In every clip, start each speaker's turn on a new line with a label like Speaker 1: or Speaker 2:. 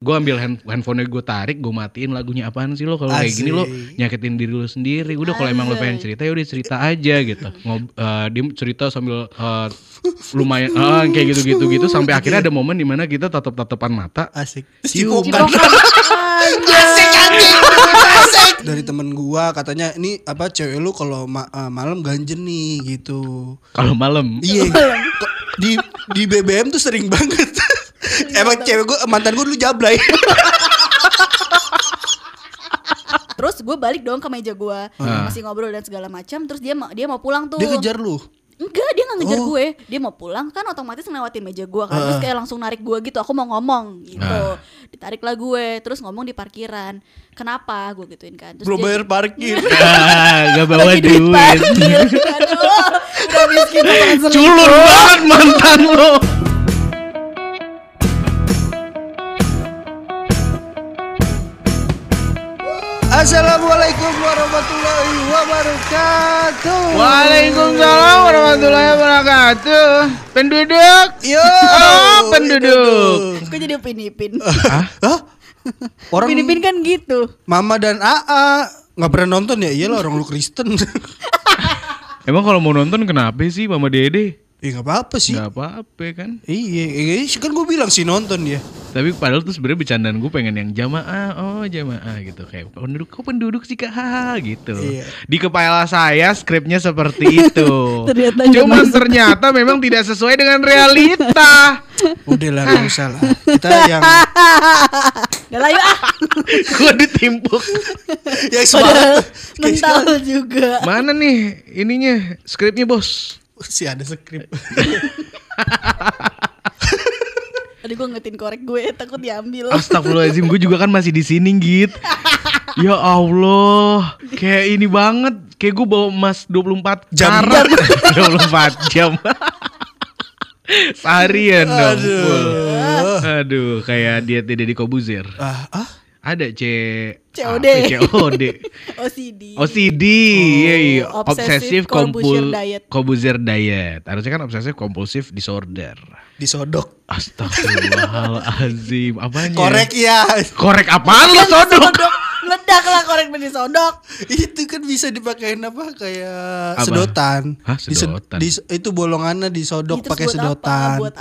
Speaker 1: gue ambil hand handphonenya gue tarik gue matiin lagunya apaan sih lo kalau kayak gini lo nyakitin diri lo sendiri udah kalau emang lo pengen cerita ya udah cerita aja gitu Ngob, eh, dia cerita sambil eh, lumayan ah, kayak gitu gitu gitu sampai akhirnya ada momen dimana kita tatap tatapan mata
Speaker 2: asik kan. Terus
Speaker 1: Cium.
Speaker 2: ciuman.
Speaker 3: Asik anjing. Asik.
Speaker 2: dari temen gua katanya ini apa cewek lu kalau ma- eh, malam ganjen nih gitu
Speaker 1: kalau malam
Speaker 2: iya Kok di di BBM tuh sering banget emang cewek gua mantan gua dulu jablay
Speaker 4: Terus gue balik dong ke meja gue masih ngobrol dan segala macam. Terus dia ma- dia mau pulang tuh.
Speaker 2: Ah. dia ngejar lu
Speaker 4: Enggak, dia gak ngejar
Speaker 2: Oh. Ah.
Speaker 4: gue. Dia mau pulang kan otomatis ngelewatin meja gue kan. Terus kayak langsung narik gue gitu, aku mau ngomong gitu. Ditariklah gue, terus ngomong di parkiran. Kenapa? Gue gituin kan. Terus
Speaker 2: belum
Speaker 4: dia-
Speaker 2: bayar parkir
Speaker 1: ah, gak bawa
Speaker 4: Lagi duit
Speaker 1: duit
Speaker 4: parkir. Aduh, udah miskin banget sering.
Speaker 1: culun banget mantan lo
Speaker 2: Assalamualaikum warahmatullahi wabarakatuh
Speaker 1: Waalaikumsalam warahmatullahi wabarakatuh penduduk
Speaker 2: Yo,
Speaker 1: Oh, penduduk.
Speaker 4: Gue jadi pinipin.
Speaker 2: Hah? Orang
Speaker 4: Pinipin kan gitu.
Speaker 2: Mama dan AA nggak pernah nonton ya? Iyalah orang lu Kristen.
Speaker 1: emang kalau mau nonton kenapa sih mama dede
Speaker 2: ya nggak apa-apa sih.
Speaker 1: Gak apa-apa kan
Speaker 2: Iya, iya, iya, kan gue bilang sih nonton dia.
Speaker 1: Tapi padahal tuh sebenarnya bercandaan gue pengen yang jamaah, oh jamaah gitu kayak penduduk, kok penduduk sih kak Hahaha," gitu.
Speaker 2: Iya.
Speaker 1: Di kepala saya skripnya seperti itu.
Speaker 4: Ternyata nggak
Speaker 1: Cuman ternyata memang tidak sesuai dengan realita.
Speaker 2: Udah lah, nggak usah lah. Kita yang
Speaker 4: Udah lah yuk ah.
Speaker 1: gue ditimpuk.
Speaker 2: yang semangat.
Speaker 4: Mental juga.
Speaker 1: Mana nih ininya skripnya bos?
Speaker 2: si ada skrip.
Speaker 4: Aduh gue ngetin korek gue, takut diambil.
Speaker 1: Astagfirullahaladzim, gue juga kan masih di sini git. Ya Allah, kayak ini banget. Kayak gue bawa emas 24
Speaker 2: Jam.
Speaker 1: karat. 24 jam. Seharian dong. full. Aduh, kayak diet Deddy Kobuzer.
Speaker 2: Ah, ah,
Speaker 1: Ada C
Speaker 4: COD.
Speaker 1: apa, COD.
Speaker 4: OCD.
Speaker 1: OCD, Oh, iya iya. obsesif
Speaker 4: Obsessive Corbuzier
Speaker 1: kompul
Speaker 4: Diet.
Speaker 1: Corbuzier diet. Harusnya kan obsesif kompulsif disorder.
Speaker 2: disodok.
Speaker 1: Astagfirullahalazim. Apanya?
Speaker 2: Korek ya.
Speaker 1: Korek apaan lo sodok?
Speaker 4: Sodok. Meledak lah korek dan disodok.
Speaker 2: itu kan bisa dipakein apa kayak
Speaker 1: Apa?
Speaker 2: sedotan.
Speaker 1: Hah,
Speaker 2: Dised-
Speaker 1: sedotan?
Speaker 2: dis- itu bolongannya disodok
Speaker 4: Ih, terus
Speaker 2: pakai
Speaker 4: Gitu buat
Speaker 2: sedotan.
Speaker 4: Apa,
Speaker 2: buat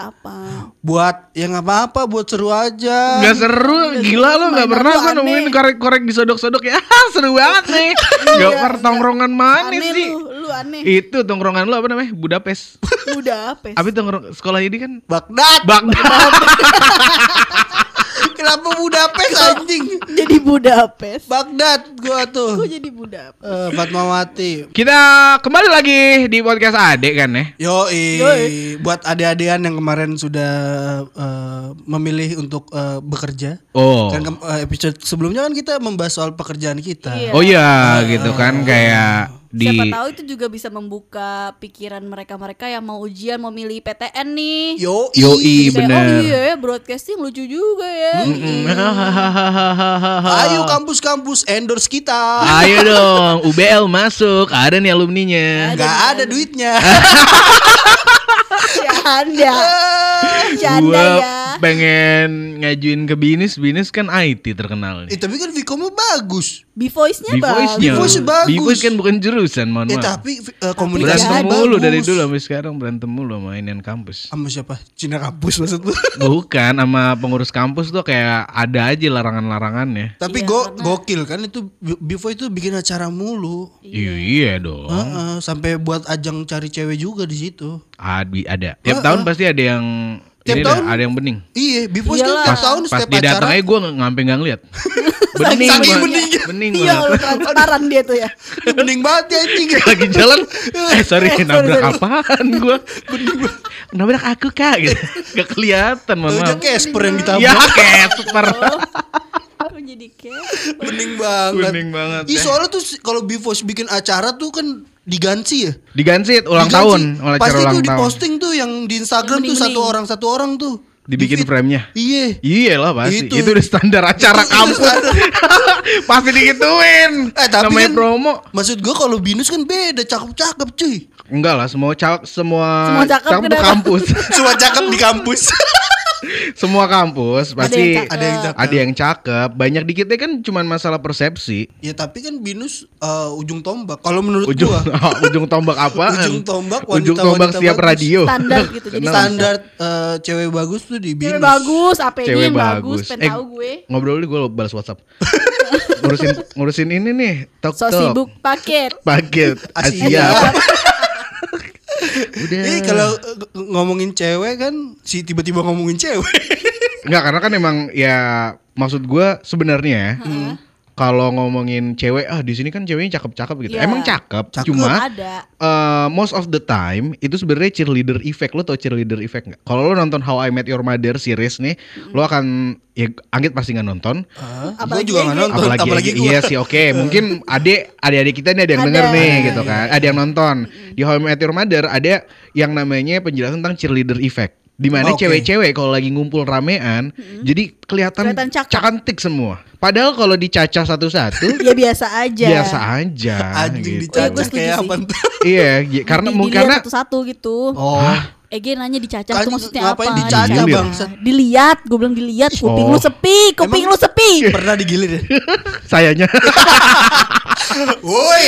Speaker 4: buat apa?
Speaker 2: yang apa-apa, buat seru aja.
Speaker 1: Gak seru, gila lo gak
Speaker 4: mainan
Speaker 1: pernah
Speaker 4: lu
Speaker 1: gue
Speaker 4: aneh.
Speaker 1: nemuin korek-korek disodok-sodok ya Seru banget nih Gak pernah tongkrongan manis
Speaker 4: Iya. Aneh
Speaker 1: sih
Speaker 4: lu, lu aneh.
Speaker 1: Itu tongkrongan lu apa namanya? Budapest
Speaker 4: Udah apa?
Speaker 1: Tapi tongkrong sekolah ini kan
Speaker 2: Bagdad.
Speaker 1: Bagdad
Speaker 2: Kenapa Budapest anjing?
Speaker 4: Jadi Budapest.
Speaker 2: Bagdad gua tuh.
Speaker 4: Gue jadi Budapest.
Speaker 2: Eh, Fatmawati.
Speaker 1: Kita kembali lagi di podcast adek kan ya
Speaker 2: Yoi.
Speaker 4: Yoi.
Speaker 2: buat adik-adian yang kemarin sudah eh, memilih untuk eh, bekerja.
Speaker 1: Oh
Speaker 2: Kan kem- eh, episode sebelumnya kan kita membahas soal pekerjaan kita.
Speaker 4: Iya.
Speaker 1: Oh iya gitu kan kayak di
Speaker 4: Siapa tahu itu juga bisa membuka pikiran mereka-mereka yang mau ujian, mau milih PTN nih.
Speaker 2: Yoi.
Speaker 1: Yoi
Speaker 4: Kayak, Oh
Speaker 1: bener
Speaker 4: iya ya, broadcasting lucu juga ya.
Speaker 2: Ayo kampus-kampus endorse kita.
Speaker 1: Ayo dong UBL masuk Ada nih alumninya
Speaker 2: Gak ada duitnya.
Speaker 1: Eh,
Speaker 4: Ya Anda. Canda
Speaker 1: Gua
Speaker 4: ya.
Speaker 1: pengen ngajuin ke Binis Binis kan IT terkenal
Speaker 2: eh,
Speaker 1: nih
Speaker 2: tapi kan Vkomu bagus.
Speaker 4: Bivoice-nya bagus.
Speaker 1: B-Voice-nya
Speaker 2: B-Voice bagus.
Speaker 1: B-Voice kan bukan jurusan mohon
Speaker 2: Eh
Speaker 1: maaf
Speaker 2: tapi eh, komunikasinya
Speaker 1: Berantem
Speaker 2: bagus.
Speaker 1: mulu dari dulu sampai sekarang Berantem mulu sama inian kampus
Speaker 2: Sama siapa? Cina kampus maksud lu?
Speaker 1: Bukan sama pengurus kampus tuh kayak ada aja larangan-larangannya
Speaker 2: Tapi
Speaker 4: Iya,
Speaker 2: go-
Speaker 4: karena-
Speaker 2: gokil kan itu Before itu bikin acara mulu.
Speaker 1: Iya, iya dong
Speaker 2: Heeh, sampai buat ajang cari cewek juga di situ.
Speaker 1: Adi- Ada Tiap tahun pasti ada yang
Speaker 2: Tiap
Speaker 1: Ini dah,
Speaker 2: tahun?
Speaker 1: ada yang bening
Speaker 2: Iya, Before itu
Speaker 4: Iyalah.
Speaker 2: tiap tahun
Speaker 1: Pas
Speaker 2: setiap
Speaker 1: dia
Speaker 2: acara.
Speaker 1: datang aja gue ngampe gak ngeliat Bening
Speaker 2: Saking
Speaker 1: banget.
Speaker 2: beningnya.
Speaker 1: Bening
Speaker 4: Iya
Speaker 1: banget.
Speaker 4: lu transparan dia tuh ya.
Speaker 2: Bening banget ya anjing.
Speaker 1: lagi jalan eh sorry nabrak apaan gue nabrak aku kak gitu gak kelihatan mohon
Speaker 2: Udah
Speaker 1: maaf
Speaker 2: Casper yang
Speaker 1: ya
Speaker 2: ditabrak.
Speaker 1: kesper
Speaker 2: Oh.
Speaker 4: Aku jadi kayak
Speaker 2: Bening banget.
Speaker 1: Bening banget,
Speaker 2: Ih,
Speaker 1: ya.
Speaker 2: soalnya tuh si- kalau Before bikin acara tuh kan diganti ya.
Speaker 1: digansit ulang
Speaker 2: Diganti.
Speaker 1: tahun oleh acara
Speaker 2: Pasti
Speaker 1: ulang
Speaker 2: tuh
Speaker 1: tahun
Speaker 2: diposting tuh yang di Instagram tuh
Speaker 4: Yang
Speaker 2: satu
Speaker 4: bening-bening.
Speaker 2: orang satu orang tuh.
Speaker 1: dibikin
Speaker 2: Di feed.
Speaker 1: frame-nya
Speaker 2: Iya.
Speaker 1: Iya lah pasti
Speaker 2: Itu.
Speaker 1: itu, udah standar acara
Speaker 2: Itu- itu
Speaker 1: kampus
Speaker 2: standar.
Speaker 1: pasti digituin
Speaker 2: Eh, tapi
Speaker 1: namanya
Speaker 2: kan-
Speaker 1: promo
Speaker 2: Maksud gua kalau Binus kan beda, cakep-cakep cuy.
Speaker 1: enggak lah semua cak semua,
Speaker 4: Semua cakep
Speaker 1: cakep di
Speaker 4: kenapa?
Speaker 1: kampus
Speaker 2: Cuma cakep di kampus.
Speaker 1: Semua kampus pasti
Speaker 4: yang cakep.
Speaker 2: Ada yang cakep.
Speaker 1: ada yang cakep. Banyak dikitnya kan cuman masalah persepsi.
Speaker 2: Ya tapi kan binus eh, ujung tombak. Kalau menurut
Speaker 1: Ujung
Speaker 2: gua
Speaker 1: ujung tombak apa?
Speaker 2: Ujung tombak
Speaker 1: ujung
Speaker 2: wanita-wanita
Speaker 1: tombak setiap
Speaker 2: bagus.
Speaker 1: radio.
Speaker 4: Standar gitu, jadi
Speaker 1: Kenal.
Speaker 2: standar eh, cewek bagus tuh di binus.
Speaker 4: Cewek bagus, apa ini
Speaker 1: cewek
Speaker 4: yang bagus,
Speaker 1: bagus.
Speaker 4: pengen
Speaker 1: Eh,
Speaker 4: tahu gue.
Speaker 1: Ngobrol dulu gue balas WhatsApp. ngurusin ngurusin ini nih, tok
Speaker 4: So
Speaker 1: tok.
Speaker 4: sibuk paket.
Speaker 1: Paket Iya.
Speaker 2: Asia.
Speaker 1: Asia. Udah.
Speaker 4: Iya.
Speaker 2: Ih, kalau eh, ngomongin cewek kan si tiba-tiba ngomongin cewek.
Speaker 1: Enggak karena kan emang ya maksud gua sebenarnya kalau ngomongin cewek ah di sini kan ceweknya cakep-cakep gitu.
Speaker 4: Iya.
Speaker 1: Emang cakep,
Speaker 2: Cakep.
Speaker 1: cuma
Speaker 4: Ada.
Speaker 1: eh, most of the time itu sebenarnya cheerleader effect lo tau cheerleader effect nggak? Kalau lo nonton How I Met Your Mother series nih, lo akan ya Anggit pasti nggak nonton.
Speaker 2: Gue
Speaker 4: Apalagi
Speaker 2: juga nggak
Speaker 4: Egi.
Speaker 2: nonton, apalagi,
Speaker 1: apalagi,
Speaker 2: gua.
Speaker 1: iya sih oke mungkin adik adik-adik kita nih ada yang
Speaker 4: Ada.
Speaker 1: denger nih
Speaker 4: Ada,
Speaker 1: gitu kan ada yang nonton di How I Met Your Mother ada yang namanya penjelasan tentang cheerleader effect di mana
Speaker 2: Oke.
Speaker 1: cewek-cewek kalau lagi ngumpul ramean jadi kelihatan,
Speaker 4: Kelihatan cakep.
Speaker 1: cantik semua padahal kalau dicacah satu-satu
Speaker 4: Ya biasa aja.
Speaker 1: biasa aja gitu.
Speaker 2: Anjing
Speaker 4: Gua
Speaker 2: dicacah
Speaker 4: setuju
Speaker 2: kayak
Speaker 4: sih.
Speaker 2: apa tuh.
Speaker 1: iya gi- karena
Speaker 4: Di-
Speaker 1: mungkin
Speaker 4: dilihat
Speaker 1: karena
Speaker 4: satu-satu gitu.
Speaker 2: Oh,
Speaker 4: Ege nanya dicacah
Speaker 2: Kan
Speaker 4: itu maksudnya
Speaker 2: ngapain
Speaker 4: apa? Nah,
Speaker 2: dicacah,
Speaker 1: Dilihat.
Speaker 2: bangsat?
Speaker 4: Dilihat, gue bilang dilihat, kuping
Speaker 1: Oh. Iya.
Speaker 4: lu sepi, kuping
Speaker 2: Emang-
Speaker 4: lu sepi.
Speaker 2: pernah digilir ya?
Speaker 1: sayanya
Speaker 2: Woi,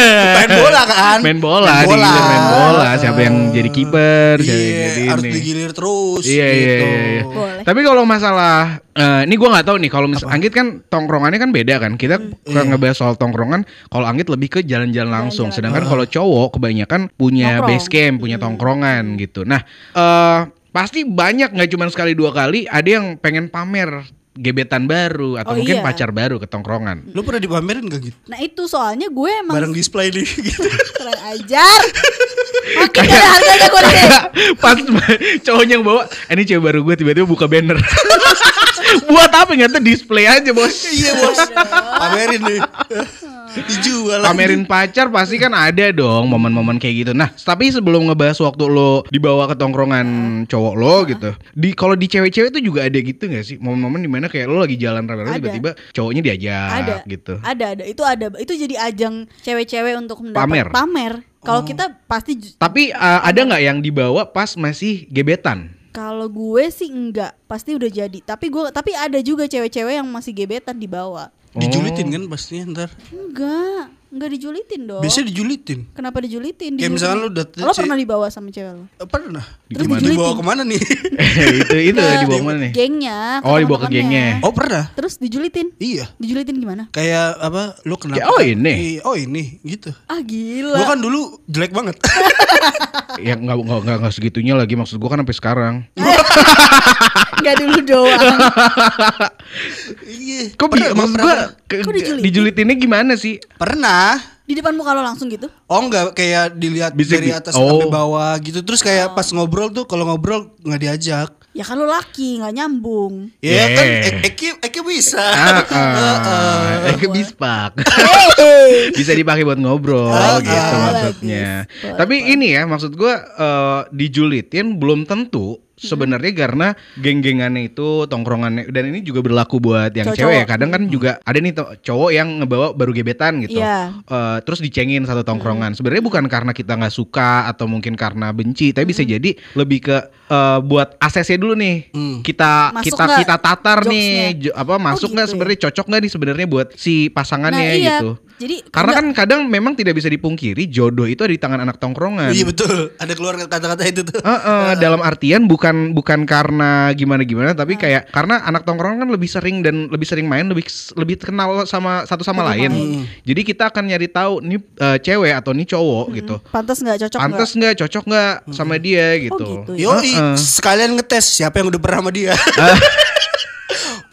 Speaker 2: main bola kan?
Speaker 1: main bola
Speaker 2: Main
Speaker 1: main
Speaker 2: bola.
Speaker 1: bola, main bola. siapa yang jadi kiper siapa yang
Speaker 2: Iya,
Speaker 1: jadi
Speaker 2: harus
Speaker 1: ini.
Speaker 2: digilir terus
Speaker 1: Iya
Speaker 2: gitu.
Speaker 1: iya iya. iya.
Speaker 4: Boleh.
Speaker 1: Tapi kalau masalah eh, ini gua nggak tahu nih kalau misal Anggit kan tongkrongannya kan beda kan. Kita kalau ngebahas soal tongkrongan kalau Anggit lebih ke jalan-jalan langsung sedangkan kalau cowok kebanyakan punya
Speaker 4: Nongkrong. Hmm.
Speaker 1: base camp, punya tongkrongan gitu. Nah, eh pasti banyak nggak cuma sekali dua kali ada yang pengen pamer gebetan baru atau
Speaker 4: Oh,
Speaker 1: mungkin
Speaker 4: iya.
Speaker 1: pacar baru ke tongkrongan.
Speaker 2: Lu pernah dipamerin gak gitu?
Speaker 4: Nah itu soalnya gue emang
Speaker 2: Barang display di gitu.
Speaker 4: Kurang ajar. Makin gak ada harganya gue nih.
Speaker 1: Pas cowoknya yang bawa, "Eh, ini cewek baru gue tiba-tiba buka banner. Buat apa nggak tuh display aja bos?
Speaker 2: iya, Bos. Pamerin nih. Dijual. lagi.
Speaker 1: pamerin pacar pasti kan ada dong momen-momen kayak gitu. Nah, tapi sebelum ngebahas waktu lo dibawa ke tongkrongan cowok lo gitu. Di kalau di cewek-cewek tuh juga ada gitu gak sih momen-momen dimana kayak lo lagi jalan rame-rame
Speaker 4: Ada.
Speaker 1: tiba-tiba cowoknya diajak
Speaker 4: Ada.
Speaker 1: gitu.
Speaker 4: Ada ada itu ada itu jadi ajang cewek-cewek untuk mendapat
Speaker 1: Pamer. Oh.
Speaker 4: pamer. Kalau kita pasti ju-
Speaker 1: Tapi uh, ada nggak yang dibawa pas masih gebetan?
Speaker 4: kalau gue sih enggak, pasti udah jadi. Tapi gue tapi ada juga cewek-cewek yang masih gebetan di bawah.
Speaker 1: Oh.
Speaker 2: Dijulitin kan pastinya ntar.
Speaker 4: Enggak, enggak dijulitin dong.
Speaker 2: Biasanya dijulitin.
Speaker 4: Kenapa dijulitin?
Speaker 2: Kayak
Speaker 4: Dijulitin.
Speaker 2: misalkan lu udah-
Speaker 4: Lo
Speaker 2: si-
Speaker 4: pernah dibawa sama cewek lo?
Speaker 2: Eh, Pernah.
Speaker 4: Terus
Speaker 2: Gimana?
Speaker 4: dijulitin.
Speaker 2: Dibawa kemana nih?
Speaker 1: itu itu
Speaker 4: Ke
Speaker 1: dibawa mana nih?
Speaker 4: Gengnya.
Speaker 1: Oh, dibawa ke
Speaker 4: teman-temannya.
Speaker 1: gengnya.
Speaker 2: oh, pernah.
Speaker 4: Terus dijulitin.
Speaker 2: Iya.
Speaker 4: Dijulitin gimana?
Speaker 2: Kayak apa? Lu kenapa?
Speaker 1: Kayak, "Oh, ini."
Speaker 2: Iya, oh ini gitu.
Speaker 4: Ah gila.
Speaker 2: Gua kan dulu jelek banget.
Speaker 1: Ya nggak nggak nggak- nggak segitunya lagi maksud gua kan sampai sekarang.
Speaker 4: Enggak dulu doang.
Speaker 2: Iya.
Speaker 1: Kok
Speaker 2: Pernah,
Speaker 1: bi-
Speaker 2: emang
Speaker 1: maksud
Speaker 2: pernah,
Speaker 1: gua ke-
Speaker 4: Kok dijulitin?
Speaker 1: dijulitinnya gimana sih?
Speaker 2: Pernah.
Speaker 4: Di depan muka lo langsung gitu?
Speaker 2: Oh enggak kayak dilihat
Speaker 1: Bisik
Speaker 2: dari
Speaker 1: di-
Speaker 2: atas
Speaker 1: oh.
Speaker 2: sampai bawah gitu. Terus kayak pas ngobrol tuh kalau ngobrol nggak diajak.
Speaker 4: Ya kan lo laki, nggak nyambung.
Speaker 1: Yeah.
Speaker 2: Ya kan Ek- Eki Eki bisa.
Speaker 1: Ah,
Speaker 2: Heeh.
Speaker 1: ah. Eh, ke bispak. bisa dipakai buat ngobrol
Speaker 2: Ah,
Speaker 1: gitu
Speaker 2: ah. gitu.
Speaker 1: maksudnya.
Speaker 4: Bagus.
Speaker 1: Tapi ini ya maksud gua eh, dijulitin belum tentu sebenarnya karena geng-gengannya itu tongkrongannya dan ini juga berlaku buat yang
Speaker 4: Cowok-cowok.
Speaker 1: cewek. Kadang kan juga ada nih to- cowok yang ngebawa baru gebetan gitu.
Speaker 4: Iya.
Speaker 1: Eh, terus dicengin satu tongkrongan. Sebenarnya bukan karena kita nggak suka atau mungkin karena benci, tapi bisa jadi lebih ke eh, buat ACC dulu nih.
Speaker 2: Hmm.
Speaker 1: Kita
Speaker 4: Masuk
Speaker 1: kita
Speaker 4: nggak
Speaker 1: kita tatar nih
Speaker 4: jokes-nya?
Speaker 1: jo- apa masuk nggak
Speaker 4: gitu ya?
Speaker 1: sebenarnya cocok nggak nih sebenarnya buat si pasangannya
Speaker 4: Nah, iya.
Speaker 1: gitu.
Speaker 4: Jadi
Speaker 1: Karena kan kadang memang tidak bisa dipungkiri jodoh itu ada di tangan anak tongkrongan.
Speaker 2: Iya betul. Ada keluar kata-kata itu tuh.
Speaker 1: Heeh, dalam artian bukan bukan karena gimana gimana tapi kayak karena anak tongkrongan kan lebih sering dan lebih sering main lebih lebih kenal sama satu sama lain. Jadi kita akan nyari tahu nih eh, cewek atau nih cowok gitu.
Speaker 4: pantas nggak Hmm. cocok
Speaker 1: Pantes nggak cocok nggak
Speaker 2: Hmm.
Speaker 1: sama dia gitu.
Speaker 4: gitu ya.
Speaker 2: Yo,
Speaker 1: Heeh. Ah.
Speaker 2: sekalian ngetes siapa yang udah pernah sama dia.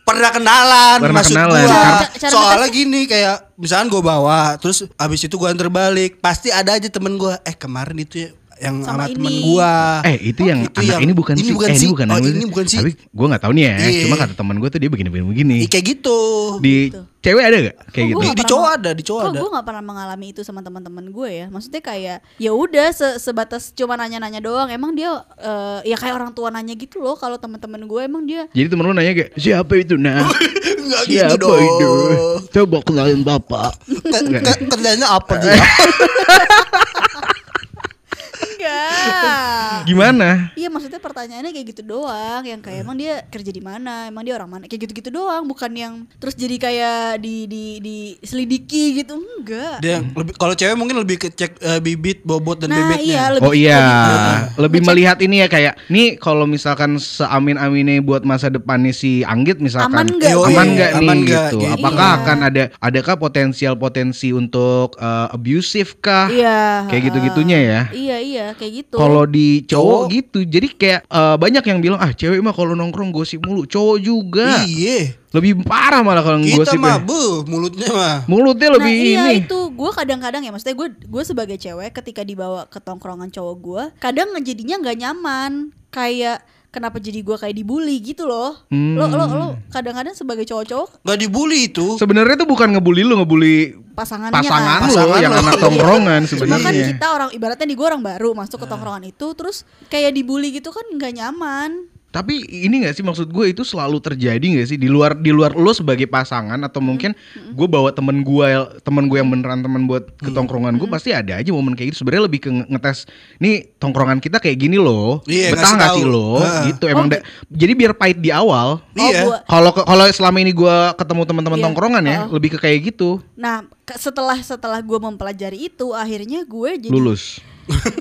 Speaker 2: pernah kenalan
Speaker 1: Pernah
Speaker 2: maksud
Speaker 1: kenalan.
Speaker 2: gua.
Speaker 4: Cara- cara
Speaker 2: Soalnya gini kayak misalkan gua bawa terus abis itu gua anter balik, pasti ada aja temen gua eh kemarin itu ya yang sama,
Speaker 4: Sama
Speaker 2: temen
Speaker 4: ini.
Speaker 2: gua.
Speaker 1: Eh itu yang
Speaker 2: Oh, itu
Speaker 1: anak
Speaker 2: yang-
Speaker 1: ini bukan
Speaker 2: ini
Speaker 1: sih.
Speaker 2: bukan
Speaker 1: eh, ini
Speaker 2: sih.
Speaker 1: bukan.
Speaker 2: Oh,
Speaker 1: anak
Speaker 2: ini bukan sih.
Speaker 1: Tapi gue nggak tahu nih ya.
Speaker 2: Iya.
Speaker 1: Cuma kata teman gue tuh dia begini-begini begini.
Speaker 2: Ih, kayak gitu.
Speaker 1: Di cewek ada gak kayak gitu?
Speaker 4: Oh,
Speaker 2: Di,
Speaker 4: Gua nggak
Speaker 2: di
Speaker 4: pernah
Speaker 2: cowok
Speaker 4: mau-
Speaker 2: ada, di cowok
Speaker 4: Kok
Speaker 2: ada.
Speaker 4: gue gak pernah mengalami itu sama teman-teman gue ya Maksudnya kayak ya udah se- sebatas cuma nanya-nanya doang Emang dia eh, ya kayak orang tua nanya gitu loh Kalau teman-teman gue emang dia
Speaker 1: Jadi temen lu nanya kayak siapa itu nah?
Speaker 2: Enggak gitu
Speaker 1: siapa
Speaker 2: dong.
Speaker 1: itu? Coba kenalin bapak. Iya.
Speaker 2: Ke- ke- Kerjanya apa dia?
Speaker 4: enggak
Speaker 1: Gimana?
Speaker 4: Iya maksudnya pertanyaannya kayak gitu doang Yang kayak emang dia kerja di mana Emang dia orang mana Kayak gitu-gitu doang Bukan yang terus jadi kayak di di di selidiki gitu Enggak
Speaker 2: Dia yang lebih kalau cewek mungkin lebih ke cek eh, bibit, bobot dan
Speaker 4: Nah
Speaker 2: bebeknya.
Speaker 4: iya lebih
Speaker 1: oh iya, lebih
Speaker 4: Ngecek.
Speaker 1: melihat ini ya kayak nih kalau misalkan seamin-aminnya buat masa depannya si Anggit misalkan
Speaker 4: Aman
Speaker 1: aman
Speaker 4: nggak?
Speaker 2: Yoi,
Speaker 1: nggak nih
Speaker 2: aman nggak,
Speaker 1: gitu.
Speaker 2: gitu.
Speaker 1: Apakah
Speaker 4: Iya.
Speaker 1: akan ada adakah potensial-potensi untuk eh, abusive kah?
Speaker 4: Iya
Speaker 1: Kayak gitu-gitunya ya.
Speaker 4: Iya iya kayak gitu
Speaker 1: Kalau di cowok
Speaker 2: Cowok.
Speaker 1: gitu, jadi kayak eh, banyak yang bilang ah cewek mah kalau nongkrong gosip mulu, cowok juga
Speaker 2: Iya.
Speaker 1: lebih parah malah kalau
Speaker 2: Kita
Speaker 1: gosip.
Speaker 2: mah bu, mulutnya mah.
Speaker 1: Mulutnya
Speaker 4: nah
Speaker 1: lebih
Speaker 4: iya
Speaker 1: ini.
Speaker 4: itu gue kadang-kadang ya maksudnya gue gue sebagai cewek ketika dibawa ke tongkrongan cowok gue kadang jadinya nggak nyaman kayak kenapa jadi gue kayak dibully gitu loh
Speaker 1: Hmm.
Speaker 4: lo lo lo kadang-kadang sebagai cowok-cowok
Speaker 2: Gak dibully itu.
Speaker 1: Sebenarnya tuh bukan ngebully lu, ngebully
Speaker 4: pasangannya
Speaker 1: pasangan
Speaker 4: kan.
Speaker 1: lo
Speaker 2: Pasangan
Speaker 1: yang
Speaker 2: lo.
Speaker 1: anak tongkrongan
Speaker 4: Cuma kan
Speaker 1: sebenarnya.
Speaker 4: kita orang ibaratnya di gue orang baru masuk ke
Speaker 1: Nah.
Speaker 4: tongkrongan itu terus kayak dibully gitu kan nggak nyaman
Speaker 1: Tapi ini gak sih maksud gue itu selalu terjadi gak sih di luar di luar lo sebagai pasangan atau
Speaker 4: Hmm.
Speaker 1: mungkin gue bawa temen gue temen gue yang beneran temen buat
Speaker 4: Iya.
Speaker 1: ke tongkrongan
Speaker 4: Hmm.
Speaker 1: gue pasti ada aja momen kayak gitu sebenarnya lebih ke nge- ngetes nih tongkrongan kita kayak gini loh
Speaker 2: Iya,
Speaker 1: betah
Speaker 2: ngasih
Speaker 1: gak
Speaker 2: tahu.
Speaker 1: sih lo
Speaker 2: Heeh.
Speaker 1: gitu emang
Speaker 4: Oh,
Speaker 1: da- jadi biar pahit di awal
Speaker 4: Oh,
Speaker 2: Iya.
Speaker 4: gua-
Speaker 1: kalau ke- kalau selama ini gue ketemu teman-teman
Speaker 4: Iya.
Speaker 1: tongkrongan ya
Speaker 4: Oh.
Speaker 1: lebih ke kayak gitu
Speaker 4: nah ke- setelah setelah gue mempelajari itu akhirnya gue jadi
Speaker 1: lulus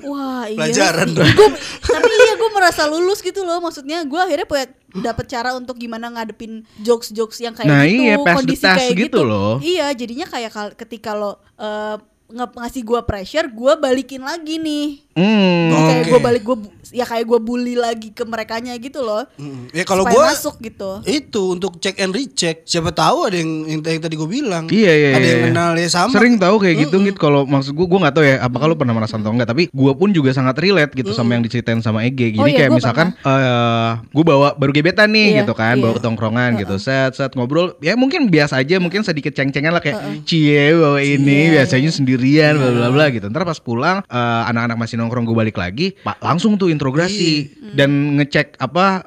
Speaker 4: Wah iya
Speaker 2: Pelajaran
Speaker 4: sih.
Speaker 2: dong.
Speaker 4: Gua- Tapi iya gue merasa lulus gitu loh Maksudnya gue akhirnya punya dapat cara untuk gimana ngadepin jokes-jokes yang kayak
Speaker 1: Nah,
Speaker 4: gitu
Speaker 1: iya, pass the
Speaker 4: Kondisi
Speaker 1: test
Speaker 4: kayak
Speaker 1: gitu loh.
Speaker 4: Iya jadinya kayak kal- ketika lo eh, nge- ngasih gue pressure Gue balikin lagi nih
Speaker 1: hmm.
Speaker 4: Jadi Kayak
Speaker 2: Oke.
Speaker 4: gue balik gue Ya kayak gue bully lagi ke merekanya gitu loh
Speaker 2: Mm. Ya kalau
Speaker 4: Supaya
Speaker 2: gue
Speaker 4: masuk gitu
Speaker 2: itu untuk cek and recheck. Siapa tahu ada yang yang, yang tadi gue bilang.
Speaker 1: Iya iya.
Speaker 2: Ada
Speaker 1: iya,
Speaker 2: yang
Speaker 1: iya.
Speaker 2: kenal ya sama.
Speaker 1: Sering tahu kayak gitu gitu kalau maksud gua gua nggak tahu ya apakah lu pernah merasa atau enggak tapi gua pun juga sangat relate gitu sama yang diceritain sama Ege. Jadi
Speaker 4: Oh, iya,
Speaker 1: kayak
Speaker 4: gua
Speaker 1: misalkan eh gua bawa baru gebetan nih
Speaker 4: Iya,
Speaker 1: gitu kan, bawa
Speaker 4: iya.
Speaker 1: ke tongkrongan gitu. Set set ngobrol ya mungkin biasa aja mungkin sedikit ceng-cengan lah kayak cie bawa ini biasanya sendirian bla bla bla
Speaker 4: Iya.
Speaker 1: gitu. Ntar pas pulang eh, anak-anak masih nongkrong gua balik lagi, pa- langsung tuh
Speaker 4: Iya.
Speaker 1: interogasi Hmm. dan ngecek apa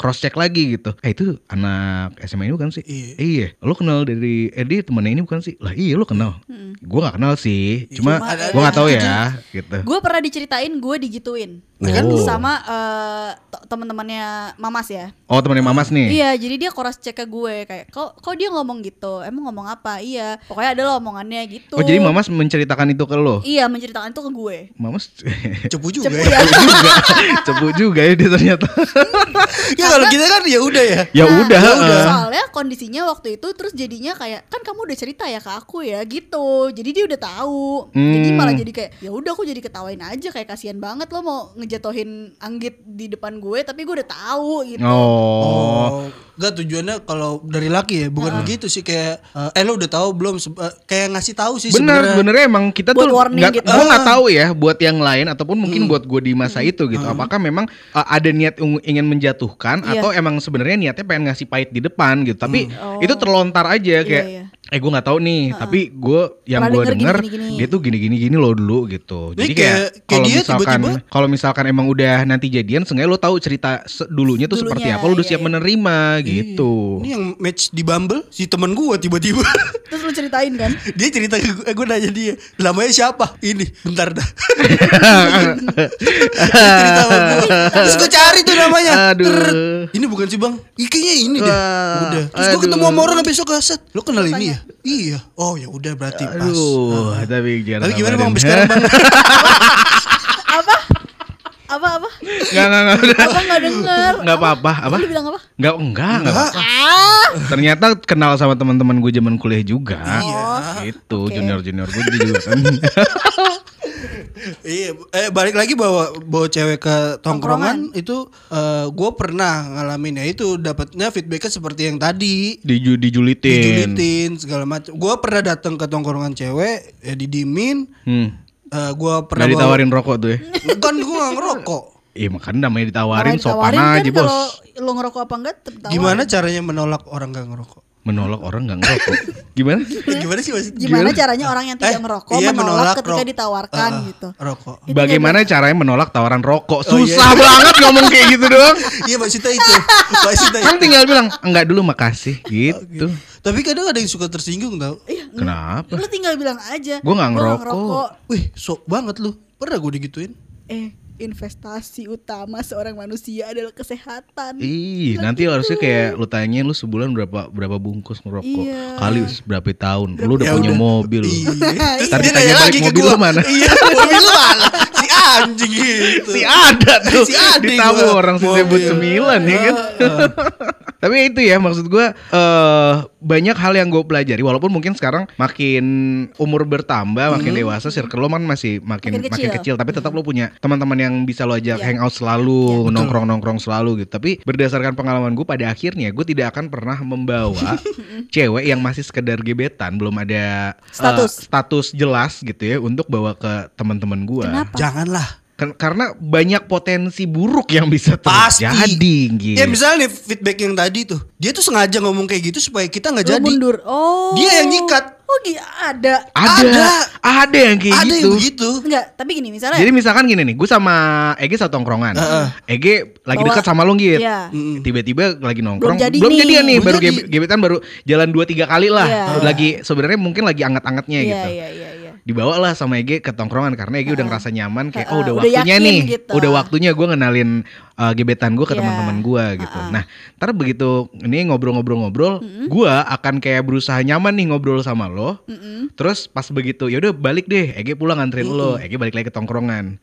Speaker 1: cross check lagi gitu. Eh itu anak SMA ini bukan sih?
Speaker 2: Iya.
Speaker 1: Iya, lo kenal dari Edi temennya ini bukan sih? Lah iya lo kenal. Gua nggak kenal sih, cuma
Speaker 2: Cuma ada-
Speaker 1: gua nggak tahu ya, gitu.
Speaker 4: Gue pernah diceritain gue digituin
Speaker 1: Nah, kan
Speaker 2: Oh.
Speaker 1: lu-
Speaker 4: Sama eh, t- teman-temannya Mamas ya
Speaker 1: Oh temennya Mamas nih.
Speaker 4: Iya, jadi dia koras cek ke gue kayak kok kok dia ngomong gitu. Emang ngomong apa? Iya. Pokoknya ada lah omongannya gitu.
Speaker 1: Oh jadi Mamas menceritakan itu ke lo.
Speaker 4: Iya, menceritakan itu ke gue.
Speaker 1: Mamas
Speaker 2: Cepu juga
Speaker 4: Cepu
Speaker 2: ya.
Speaker 4: ya.
Speaker 1: cepu juga, cepu juga ya dia ternyata.
Speaker 2: ya kalau kita kan ya udah ya.
Speaker 1: ya udah.
Speaker 4: Nah,
Speaker 1: eh.
Speaker 4: Soalnya kondisinya waktu itu terus jadinya kayak kan kamu udah cerita ya ke aku ya gitu. Jadi dia udah tahu. Jadi
Speaker 1: Hmm.
Speaker 4: malah jadi kayak ya udah aku jadi ketawain aja kayak kasihan banget lo mau ngejatohin anggit di depan gue tapi gue udah tahu gitu.
Speaker 1: eh. Oh.
Speaker 2: Oh. Enggak tujuannya kalau dari laki ya bukan begitu sih kayak eh lo udah tahu belum Seb- eh, kayak ngasih tahu sih
Speaker 1: Bener,
Speaker 2: sebenarnya.
Speaker 1: benernya emang kita
Speaker 4: Buat
Speaker 1: tuh
Speaker 4: warning
Speaker 1: nggak-
Speaker 4: gitu. Hmm.
Speaker 1: gua nggak tahu ya buat yang lain ataupun mungkin buat gue di masa itu gitu. Apakah memang uh, ada niat ung- ingin menjatuhkan
Speaker 4: Iya.
Speaker 1: atau emang sebenarnya niatnya pengen ngasih pahit di depan gitu. Tapi
Speaker 2: Oh.
Speaker 4: Hmm.
Speaker 1: itu terlontar aja
Speaker 4: Iya,
Speaker 1: kayak
Speaker 4: iya.
Speaker 1: eh gue nggak tahu nih, tapi gue yang
Speaker 4: Pernah
Speaker 1: gue
Speaker 4: denger
Speaker 1: denger
Speaker 4: gini-gini-gini.
Speaker 1: dia tuh gini-gini gini loh dulu gitu. Jadi
Speaker 2: Jadi
Speaker 1: kayak
Speaker 2: Iya, kayak- kayak
Speaker 1: kalau
Speaker 2: dia
Speaker 1: misalkan
Speaker 2: tiba-tiba-
Speaker 1: kalau misalkan emang udah nanti jadian, sengaja lo tahu cerita se- dulunya tuh seperti
Speaker 4: Dulunya,
Speaker 1: apa, lo udah
Speaker 4: iya,
Speaker 1: siap
Speaker 4: iya.
Speaker 1: menerima gitu.
Speaker 2: Ini yang match di Bumble si temen gua tiba-tiba
Speaker 4: Terus lu ceritain kan?
Speaker 2: dia cerita ke gue, gue nanya dia namanya siapa ini bentar dah Dia cerita sama gue terus gue cari tuh namanya
Speaker 1: Aduh.
Speaker 2: Ter- ini bukan sih bang Ih, kayaknya ini deh
Speaker 1: Wah,
Speaker 2: udah terus gue
Speaker 1: aduh.
Speaker 2: ketemu sama orang besok kaset lo kenal ini ya iya oh ya udah berarti pas
Speaker 1: Aduh,
Speaker 2: Nah.
Speaker 1: tapi jangan
Speaker 2: tapi gimana kan? bang
Speaker 1: kabarin.
Speaker 2: sampai sekarang bang
Speaker 4: apa? Apa apa?
Speaker 1: Nggak, nggak, nggak, nggak.
Speaker 4: Apa enggak denger?
Speaker 1: Nggak apa-apa, apa?
Speaker 4: Lu bilang apa? Ah!
Speaker 1: Nggak, enggak, enggak.
Speaker 2: Enggak.
Speaker 1: apa-apa. Ternyata kenal sama teman-teman gue zaman kuliah juga.
Speaker 2: Iya.
Speaker 1: Itu
Speaker 4: Oke.
Speaker 1: junior-junior gue juga kan.
Speaker 2: Iya, eh balik lagi bawa bawa cewek ke tongkrongan, itu eh, gue pernah ngalamin ya itu dapatnya feedbacknya seperti yang tadi
Speaker 1: Diju dijulitin.
Speaker 2: dijulitin segala macam. Gua pernah datang ke tongkrongan cewek, ya didimin.
Speaker 1: Hmm.
Speaker 2: Eh, gua pernah
Speaker 1: Nggak ditawarin rokok tuh ya.
Speaker 2: Bawa, bukan gua nggak ngerokok.
Speaker 1: Iya makanya namanya ditawarin
Speaker 4: Kalau
Speaker 1: sopan
Speaker 4: ditawarin
Speaker 1: aja
Speaker 4: kan
Speaker 1: bos.
Speaker 4: kalau Lu ngerokok apa enggak? tetep tawarin.
Speaker 2: Gimana caranya menolak orang nggak ngerokok?
Speaker 1: Menolak orang nggak ngerokok. Gimana?
Speaker 2: Eh, gimana sih maksud
Speaker 4: Gimana caranya orang yang
Speaker 2: Eh,
Speaker 4: tidak ngerokok
Speaker 2: iya,
Speaker 4: menolak,
Speaker 2: menolak
Speaker 4: ketika
Speaker 2: rok-
Speaker 4: ditawarkan
Speaker 2: eh,
Speaker 4: gitu?
Speaker 2: Rokok.
Speaker 1: Bagaimana caranya menolak tawaran rokok?
Speaker 2: Oh, iya.
Speaker 1: Susah banget ngomong kayak gitu doang.
Speaker 2: Iya maksudnya itu. maksudnya.
Speaker 1: Kan tinggal bilang enggak dulu makasih gitu.
Speaker 2: Tapi kadang ada yang suka tersinggung tau.
Speaker 1: Kenapa?
Speaker 4: Iya, Lu tinggal bilang aja.
Speaker 1: Gua nggak
Speaker 4: "Gua
Speaker 1: ngerokok."
Speaker 2: Wih, sok banget lu. Pernah gue digituin?
Speaker 5: eh investasi utama seorang manusia adalah kesehatan.
Speaker 1: Ih,
Speaker 5: Bilang
Speaker 1: nanti
Speaker 5: gitu.
Speaker 1: harusnya kayak lu tanyain lu sebulan berapa berapa bungkus ngerokok.
Speaker 5: Iya.
Speaker 1: Kali berapa tahun. Lu udah
Speaker 2: Ya
Speaker 1: punya
Speaker 2: udah.
Speaker 1: mobil.
Speaker 2: Iya. Terus
Speaker 1: Ntar
Speaker 2: dia
Speaker 1: ditanya
Speaker 2: nanya
Speaker 1: balik
Speaker 2: lagi ke
Speaker 1: mobil
Speaker 2: gua.
Speaker 1: lu mana?
Speaker 2: Iya, mobil lu mana? Si anjing gitu.
Speaker 1: Si ada tuh
Speaker 2: Si ada
Speaker 1: ditamu
Speaker 2: gua.
Speaker 1: orang
Speaker 2: Mobil.
Speaker 1: sebut sembilan ya kan. Tapi itu ya maksud gua eh, banyak hal yang gue pelajari walaupun mungkin sekarang makin umur bertambah makin dewasa circle lo kan masih makin makin
Speaker 4: Makin
Speaker 1: kecil,
Speaker 4: kecil.
Speaker 1: tapi tetap lo punya teman-teman yang bisa lo ajak
Speaker 4: Iya.
Speaker 1: hangout selalu nongkrong nongkrong selalu gitu tapi berdasarkan pengalaman gue pada akhirnya gue tidak akan pernah membawa cewek yang masih sekedar gebetan belum ada eh,
Speaker 4: Status.
Speaker 1: status jelas gitu ya untuk bawa ke teman-teman gue
Speaker 4: Kenapa?
Speaker 2: Janganlah.
Speaker 1: Ken- Kan, karena banyak potensi buruk yang bisa
Speaker 2: Pasti.
Speaker 1: terjadi gitu.
Speaker 2: Ya misalnya nih feedback yang tadi tuh, dia tuh sengaja ngomong kayak gitu supaya kita nggak
Speaker 4: Lu
Speaker 2: jadi.
Speaker 4: mundur. Oh.
Speaker 2: Dia yang nyikat.
Speaker 4: Oh, iya ada.
Speaker 1: ada, ada
Speaker 2: ada.
Speaker 1: yang kayak
Speaker 2: Ada yang ya?
Speaker 1: gitu.
Speaker 2: begitu.
Speaker 4: Enggak, tapi gini misalnya
Speaker 1: Jadi misalkan gini nih, gue sama Ege satu tongkrongan. Ege lagi
Speaker 4: Bawa-
Speaker 1: dekat sama lo gitu.
Speaker 4: Iya.
Speaker 2: Hmm.
Speaker 1: Tiba-tiba lagi nongkrong.
Speaker 4: Belum jadi
Speaker 1: belum
Speaker 4: nih.
Speaker 1: jadian nih,
Speaker 2: Belum
Speaker 1: baru
Speaker 2: jadi.
Speaker 1: gebe- gebetan baru jalan 2 3 kali lah.
Speaker 4: Iya.
Speaker 1: Lagi sebenarnya mungkin lagi anget-angetnya
Speaker 4: Iya,
Speaker 1: gitu.
Speaker 4: iya, iya, iya.
Speaker 1: Dibawa lah sama Ege ke tongkrongan karena Ege udah ngerasa nyaman kayak oh udah,
Speaker 4: Heeh, Ah. udah
Speaker 1: waktunya
Speaker 4: yakin
Speaker 1: nih.
Speaker 4: gitu.
Speaker 1: Udah waktunya gue ngenalin uh, gebetan gue ke
Speaker 4: Iya. ah.
Speaker 1: teman-teman gue gitu. Nah, ntar begitu ini ngobrol-ngobrol-ngobrol, gue akan kayak berusaha nyaman nih ngobrol sama lo. Terus pas begitu ya udah balik deh, Ege pulang nganterin lo, Ege balik lagi ke tongkrongan.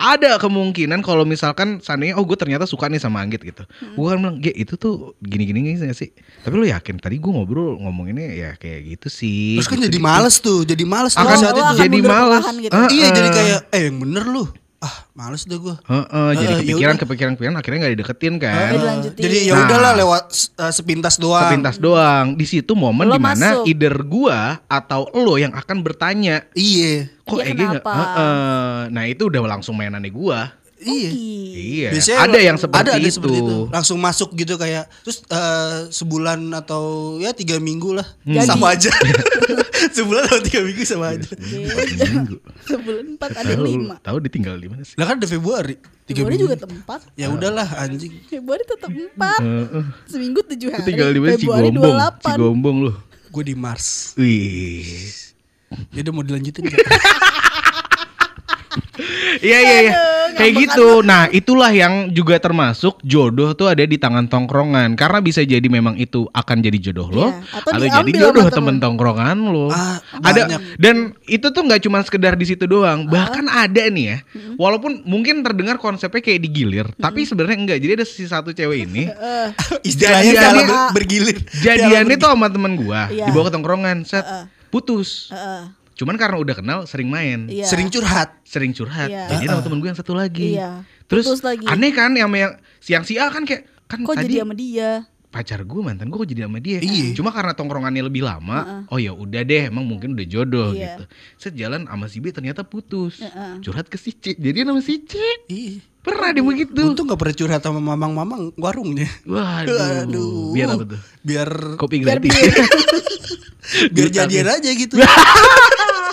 Speaker 1: Ada kemungkinan kalau misalkan seandainya oh gue ternyata suka nih sama Anggit gitu. Gue kan bilang, "Ge, itu tuh gini-gini gak sih?" Tapi lo yakin tadi gue ngobrol ngomonginnya ya kayak gitu sih.
Speaker 2: Terus kan
Speaker 1: gitu,
Speaker 2: jadi
Speaker 1: gitu.
Speaker 2: males tuh, jadi males tuh
Speaker 1: Akan
Speaker 2: saat
Speaker 4: Lo
Speaker 2: itu.
Speaker 4: akan
Speaker 1: jadi
Speaker 4: mundur
Speaker 1: malas.
Speaker 4: perlahan gitu.
Speaker 1: Ah,
Speaker 2: Iya, jadi
Speaker 1: ah.
Speaker 2: kayak eh yang bener lu. Ah, males deh gua.
Speaker 1: Heeh, jadi
Speaker 2: Heeh,
Speaker 1: kepikiran,
Speaker 2: yaudah.
Speaker 1: kepikiran, kepikiran akhirnya nggak dideketin kan.
Speaker 4: Heeh. dilanjutin.
Speaker 2: Jadi ya
Speaker 1: Nah.
Speaker 2: udahlah lewat eh, sepintas doang.
Speaker 1: Sepintas doang. Di situ momen
Speaker 4: Lo
Speaker 1: dimana
Speaker 4: masuk.
Speaker 1: either gua atau lo yang akan bertanya,
Speaker 2: Iya.
Speaker 1: kok
Speaker 4: Dia
Speaker 1: Ege nggak?
Speaker 4: kenapa?
Speaker 1: Heeh. Nah itu udah langsung mainannya gua.
Speaker 2: Iya.
Speaker 1: Oh, Iya.
Speaker 2: Biasanya
Speaker 1: ada
Speaker 2: lo-
Speaker 1: yang seperti,
Speaker 2: ada, ada
Speaker 1: itu.
Speaker 2: seperti Langsung masuk gitu kayak terus eh, sebulan atau ya tiga minggu lah
Speaker 1: Hmm.
Speaker 4: Jadi.
Speaker 2: sama aja. sebulan atau tiga minggu sama
Speaker 1: Iya
Speaker 2: aja.
Speaker 1: Empat minggu.
Speaker 5: Sebulan empat ada
Speaker 1: Tahu,
Speaker 5: lima.
Speaker 1: tahu ditinggal di mana sih?
Speaker 2: Lah kan udah Februari. Tiga
Speaker 5: Februari
Speaker 2: minggu.
Speaker 5: juga tempat.
Speaker 2: Ya udahlah anjing.
Speaker 5: Februari tetap empat.
Speaker 1: Heeh.
Speaker 5: Seminggu tujuh hari.
Speaker 1: Ditinggal Hmm. di mana?
Speaker 5: Februari
Speaker 1: Cigombong.
Speaker 5: 28.
Speaker 1: Cigombong lo.
Speaker 2: Gue di Mars.
Speaker 1: Wih.
Speaker 2: Ya udah mau dilanjutin. nggak?
Speaker 1: Iya iya iya. Kayak gitu. Nah, itulah yang juga termasuk jodoh tuh ada di tangan tongkrongan. Karena bisa jadi memang itu akan jadi jodoh lo
Speaker 4: Iya,
Speaker 1: atau,
Speaker 4: atau
Speaker 1: jadi
Speaker 4: diambil sama
Speaker 1: jodoh
Speaker 4: temen.
Speaker 1: temen tongkrongan lo.
Speaker 2: Ah,
Speaker 1: ada
Speaker 2: banyak.
Speaker 1: dan itu tuh nggak cuma sekedar di situ
Speaker 4: Ah.
Speaker 1: doang. Bahkan ada nih ya. Walaupun mungkin terdengar konsepnya kayak digilir, tapi sebenarnya enggak. Jadi ada si satu cewek ini
Speaker 4: Eh,
Speaker 2: Istilahnya
Speaker 1: Jadiannya-
Speaker 2: piala ber- bergilir.
Speaker 1: jadiannya tuh sama temen gua
Speaker 4: Ya, Iya.
Speaker 1: dibawa ke tongkrongan, set putus.
Speaker 4: Heeh.
Speaker 1: Cuman karena udah kenal sering main.
Speaker 4: Iya.
Speaker 2: Sering curhat.
Speaker 1: sering curhat.
Speaker 4: Iya.
Speaker 1: Jadi sama temen gue yang satu lagi.
Speaker 4: Iya.
Speaker 1: Terus
Speaker 4: Putus lagi.
Speaker 1: aneh kan yang yang siang si A kan kayak kan
Speaker 4: Kok
Speaker 1: tadi
Speaker 4: jadi sama dia?
Speaker 1: pacar gue mantan gue kok jadi sama dia.
Speaker 2: Iya.
Speaker 1: Cuma karena tongkrongannya lebih lama, oh ya udah deh emang mungkin udah jodoh
Speaker 4: Iya.
Speaker 1: gitu. Set jalan sama si B ternyata putus. Curhat ke si C. Jadi sama si C.
Speaker 2: Iya.
Speaker 1: Pernah gitu. dia begitu.
Speaker 2: Untung gak pernah curhat sama mamang-mamang warungnya.
Speaker 1: Waduh.
Speaker 2: Aduh.
Speaker 1: Biar apa tuh?
Speaker 2: Biar
Speaker 1: Kopi gratis.
Speaker 2: biar jadian aja gitu.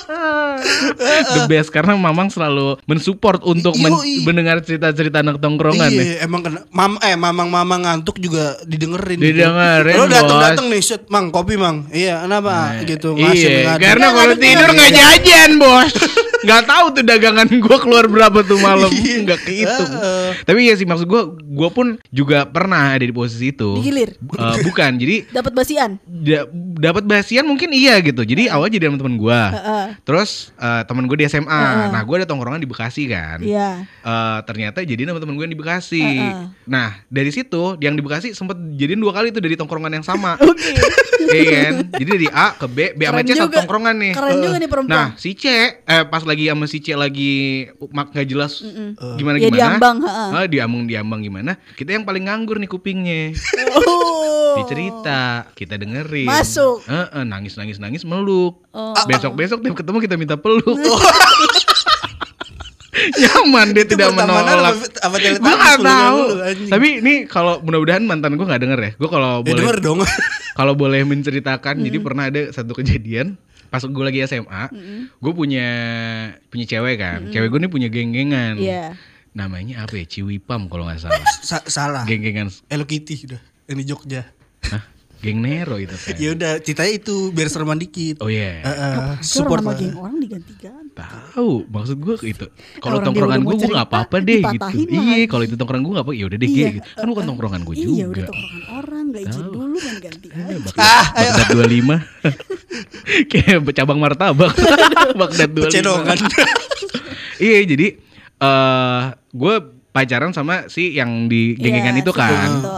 Speaker 1: The best karena Mamang selalu mensupport untuk men-
Speaker 2: Yoi.
Speaker 1: mendengar cerita-cerita anak tongkrongan ya.
Speaker 2: Iya, emang kena mam eh mamang-mamang ngantuk juga didengerin. gitu.
Speaker 1: Didengerin,
Speaker 2: Lo dateng
Speaker 1: Bos.
Speaker 2: dateng nih, set, mang kopi mang. Iya, kenapa? gitu ngasih
Speaker 1: Iya,
Speaker 2: mengatur.
Speaker 1: karena kalau tidur nggak jajan bos. Nggak tahu tuh dagangan gua keluar berapa tuh malam. Nggak kehitung.
Speaker 2: Iya. Heeh.
Speaker 1: Tapi ya sih maksud gua, gua pun juga pernah ada di posisi itu.
Speaker 4: Digilir.
Speaker 1: Eh, bukan, jadi
Speaker 4: Dapat basian.
Speaker 1: da- dapat bahasian mungkin iya gitu. Jadi awal jadi sama temen
Speaker 4: Eh,
Speaker 1: gua. Terus eh, temen gue di SMA. Nah, gua ada tongkrongan di Bekasi kan.
Speaker 4: Iya.
Speaker 1: Eh, ternyata jadi sama temen gue yang di Bekasi. Nah dari situ yang di Bekasi sempet jadiin dua kali tuh dari tongkrongan yang sama. Oke. kan? Jadi dari A ke B, B sama
Speaker 4: Keren
Speaker 1: C satu
Speaker 4: juga.
Speaker 1: tongkrongan nih.
Speaker 4: Keren juga nih perempuan.
Speaker 1: Nah si C, eh, pas lagi sama si C lagi mak nggak jelas gimana
Speaker 4: Ya,
Speaker 1: gimana.
Speaker 4: diambang, heeh.
Speaker 1: Ah, diambang diambang gimana? Kita yang paling nganggur nih kupingnya.
Speaker 4: Oh.
Speaker 1: Dicerita, kita dengerin.
Speaker 4: Masuk.
Speaker 1: Heeh, nangis nangis nangis meluk.
Speaker 4: Oh,
Speaker 2: Oh.
Speaker 1: Besok besok tiap ketemu kita minta peluk. Nyaman dia tidak
Speaker 2: pertemanan
Speaker 1: menolak.
Speaker 2: apa- apa
Speaker 1: Gue
Speaker 2: teletubbies
Speaker 1: nggak
Speaker 2: menurut
Speaker 1: tahu.
Speaker 2: lu, anjing?
Speaker 1: Tapi ini kalau mudah-mudahan mantan gue nggak denger ya. Gue kalau
Speaker 2: Ya
Speaker 1: boleh
Speaker 2: denger Hmm. dong.
Speaker 1: kalau boleh menceritakan, jadi pernah ada satu kejadian pas gue lagi SMA,
Speaker 2: Hmm.
Speaker 1: gue punya punya cewek kan, cewek gue nih punya geng-gengan,
Speaker 4: Iya.
Speaker 1: namanya apa ya, Ciwipam kalau nggak salah,
Speaker 2: Sa- salah.
Speaker 1: geng-gengan
Speaker 2: Hello Kitty udah. Yang di Jogja.
Speaker 1: Geng Nero itu kan.
Speaker 2: Ya udah, ceritanya itu biar sereman dikit.
Speaker 1: Oh iya.
Speaker 2: Eh, eh,
Speaker 5: Apaan sih
Speaker 2: support
Speaker 5: orang
Speaker 2: lah.
Speaker 5: sama geng orang diganti-ganti
Speaker 1: Tahu, maksud gue itu. Kalau
Speaker 5: orang dia
Speaker 1: tongkrongan
Speaker 5: udah mau
Speaker 1: gue gue nggak
Speaker 5: cerita,
Speaker 1: apa-apa deh gitu.
Speaker 5: dipatahin
Speaker 1: Iya,
Speaker 5: lagi.
Speaker 1: kalau itu tongkrongan gue nggak apa, ya udah deh.
Speaker 5: Iya,
Speaker 1: Iya. Kan bukan tongkrongan gue
Speaker 5: Iya udah
Speaker 1: juga.
Speaker 5: tongkrongan orang Gak izin
Speaker 1: Tahu.
Speaker 5: dulu main ganti aja
Speaker 1: Ah, Bagdad 25 Kayak cabang martabak Bagdad 25
Speaker 2: Pecedongan.
Speaker 1: Iya jadi eh Gue pacaran sama si yang di geng-gengan
Speaker 4: Iya,
Speaker 1: itu
Speaker 4: si geng
Speaker 1: kan
Speaker 4: itu.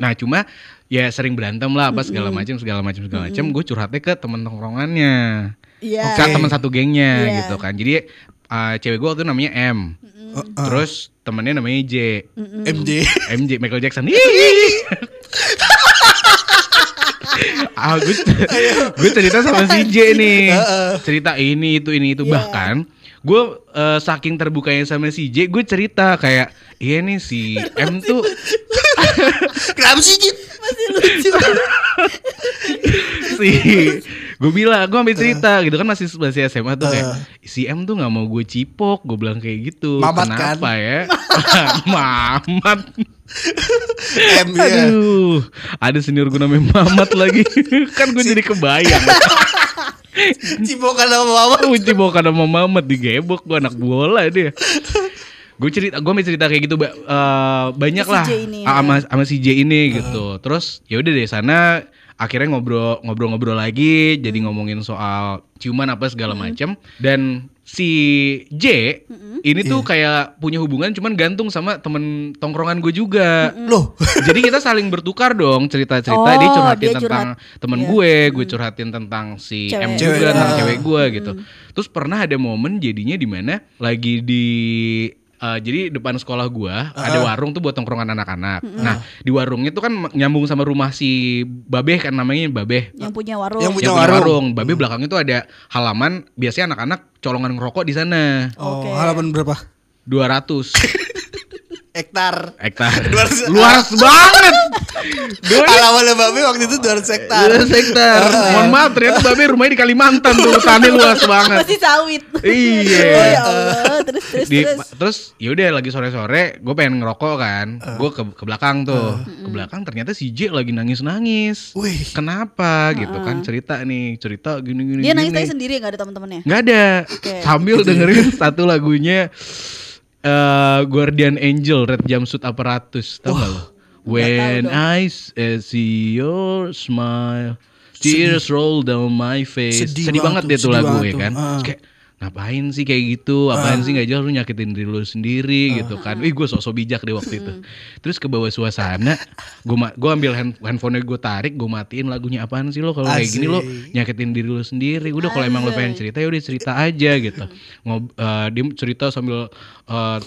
Speaker 1: Nah cuma ya sering berantem lah apa segala macam segala macam segala macam gue curhatnya ke temen tongkrongannya
Speaker 5: Iya
Speaker 4: Ya.
Speaker 2: Oke.
Speaker 1: ke teman satu gengnya
Speaker 5: Iya.
Speaker 1: gitu kan jadi eh, cewek gue waktu itu namanya M terus temennya namanya J
Speaker 2: MJ.
Speaker 1: MJ Michael Jackson. Hihihi. ah, gue, gue cerita sama si J nih. Cerita ini itu ini itu bahkan gue eh, saking terbukanya sama si J, gue cerita kayak iya nih si M tuh
Speaker 2: Kenapa sih Jit?
Speaker 5: Masih lucu
Speaker 1: si gue bilang gue ambil cerita
Speaker 2: Uh.
Speaker 1: gitu kan masih masih SMA tuh kayak si M tuh nggak mau gue cipok gue bilang kayak gitu
Speaker 2: Mamat kan?
Speaker 1: kenapa ya mamat
Speaker 2: M ya.
Speaker 1: Aduh, ada senior gue namanya Mamat lagi. kan gue jadi kebayang.
Speaker 2: Cipokan sama mama.
Speaker 1: Uci bawa karena sama Mamat digebok gue anak bola dia. Gue cerita, gue mau cerita kayak gitu ba- eh, banyak
Speaker 4: Si
Speaker 1: lah
Speaker 4: J ini ya. Hmm.
Speaker 1: Ah, sama sama si J ini gitu. Terus ya udah dari sana akhirnya ngobrol ngobrol-ngobrol lagi, jadi
Speaker 4: Hmm.
Speaker 1: ngomongin soal ciuman apa segala macam dan si J
Speaker 4: Hmm.
Speaker 1: ini tuh kayak punya hubungan cuman gantung sama temen tongkrongan gue juga.
Speaker 2: Loh,
Speaker 1: Jadi kita saling bertukar dong cerita-cerita
Speaker 4: Oh,
Speaker 1: dia curhatin
Speaker 4: dia curhat.
Speaker 1: tentang temen
Speaker 4: Iya.
Speaker 1: gue, gue curhatin tentang si
Speaker 4: Cewek. Hmm.
Speaker 1: M
Speaker 2: Cewek.
Speaker 1: juga tentang
Speaker 2: Ah.
Speaker 1: cewek gue gitu. Terus pernah ada momen jadinya di mana lagi di eh, jadi depan sekolah gue ada warung tuh buat tongkrongan anak-anak.
Speaker 4: Hmm.
Speaker 1: Nah di warungnya tuh kan nyambung sama rumah si Babeh kan namanya Babeh.
Speaker 4: yang punya warung.
Speaker 2: yang punya
Speaker 1: Yang punya
Speaker 2: warung. Hmm.
Speaker 1: warung, Babeh belakangnya tuh ada halaman biasanya anak-anak colongan ngerokok di sana
Speaker 2: Oh,
Speaker 4: Oke.
Speaker 2: halaman berapa?
Speaker 1: 200
Speaker 2: Hektar.
Speaker 1: hektar.
Speaker 2: 200.
Speaker 1: Luas banget. Dua-
Speaker 2: Halaman Babe waktu itu 200 hektar.
Speaker 1: Iya, sektor. Mohon maaf ternyata babe rumahnya di Kalimantan tuh hutannya luas banget.
Speaker 4: Masih sawit.
Speaker 1: kan? Iya.
Speaker 4: Oh, ya Allah, terus terus
Speaker 1: Di,
Speaker 4: terus.
Speaker 1: terus yaudah lagi sore-sore gue pengen ngerokok kan gue ke, ke belakang tuh ke belakang ternyata si J lagi nangis-nangis
Speaker 2: Wih.
Speaker 1: kenapa gitu kan cerita nih cerita gini-gini
Speaker 4: Ah. Dia nangis
Speaker 1: gini.
Speaker 4: tadi sendiri nggak ada
Speaker 2: ya?
Speaker 4: teman-temannya.
Speaker 1: Nggak ada. Sambil dengerin satu lagunya eh Guardian Angel Red Jumpsuit Apparatus, tahu nggak lo? When I s- eh, see your smile, tears roll down my face.
Speaker 2: Sedih
Speaker 1: Sedih, banget
Speaker 2: banget tuh,
Speaker 1: dia tuh
Speaker 2: sedih
Speaker 1: lagu
Speaker 2: banget
Speaker 1: ya
Speaker 2: tuh.
Speaker 1: kan. Terus
Speaker 2: Ah.
Speaker 1: Kayak ngapain sih kayak gitu? Apaan sih nggak jelas lu nyakitin diri lu
Speaker 2: Ah.
Speaker 1: sendiri gitu kan. Ih, gue sosok bijak deh waktu
Speaker 2: Hmm.
Speaker 1: itu. Terus ke bawah suasana, gue gue ambil hand, handphonenya gue tarik, gue matiin lagunya apaan sih lo kalau kayak gini lo
Speaker 2: Asik.
Speaker 1: nyakitin diri lu sendiri udah kalau emang lu pengen cerita ya udah cerita aja gitu ngob eh, dia cerita sambil eh,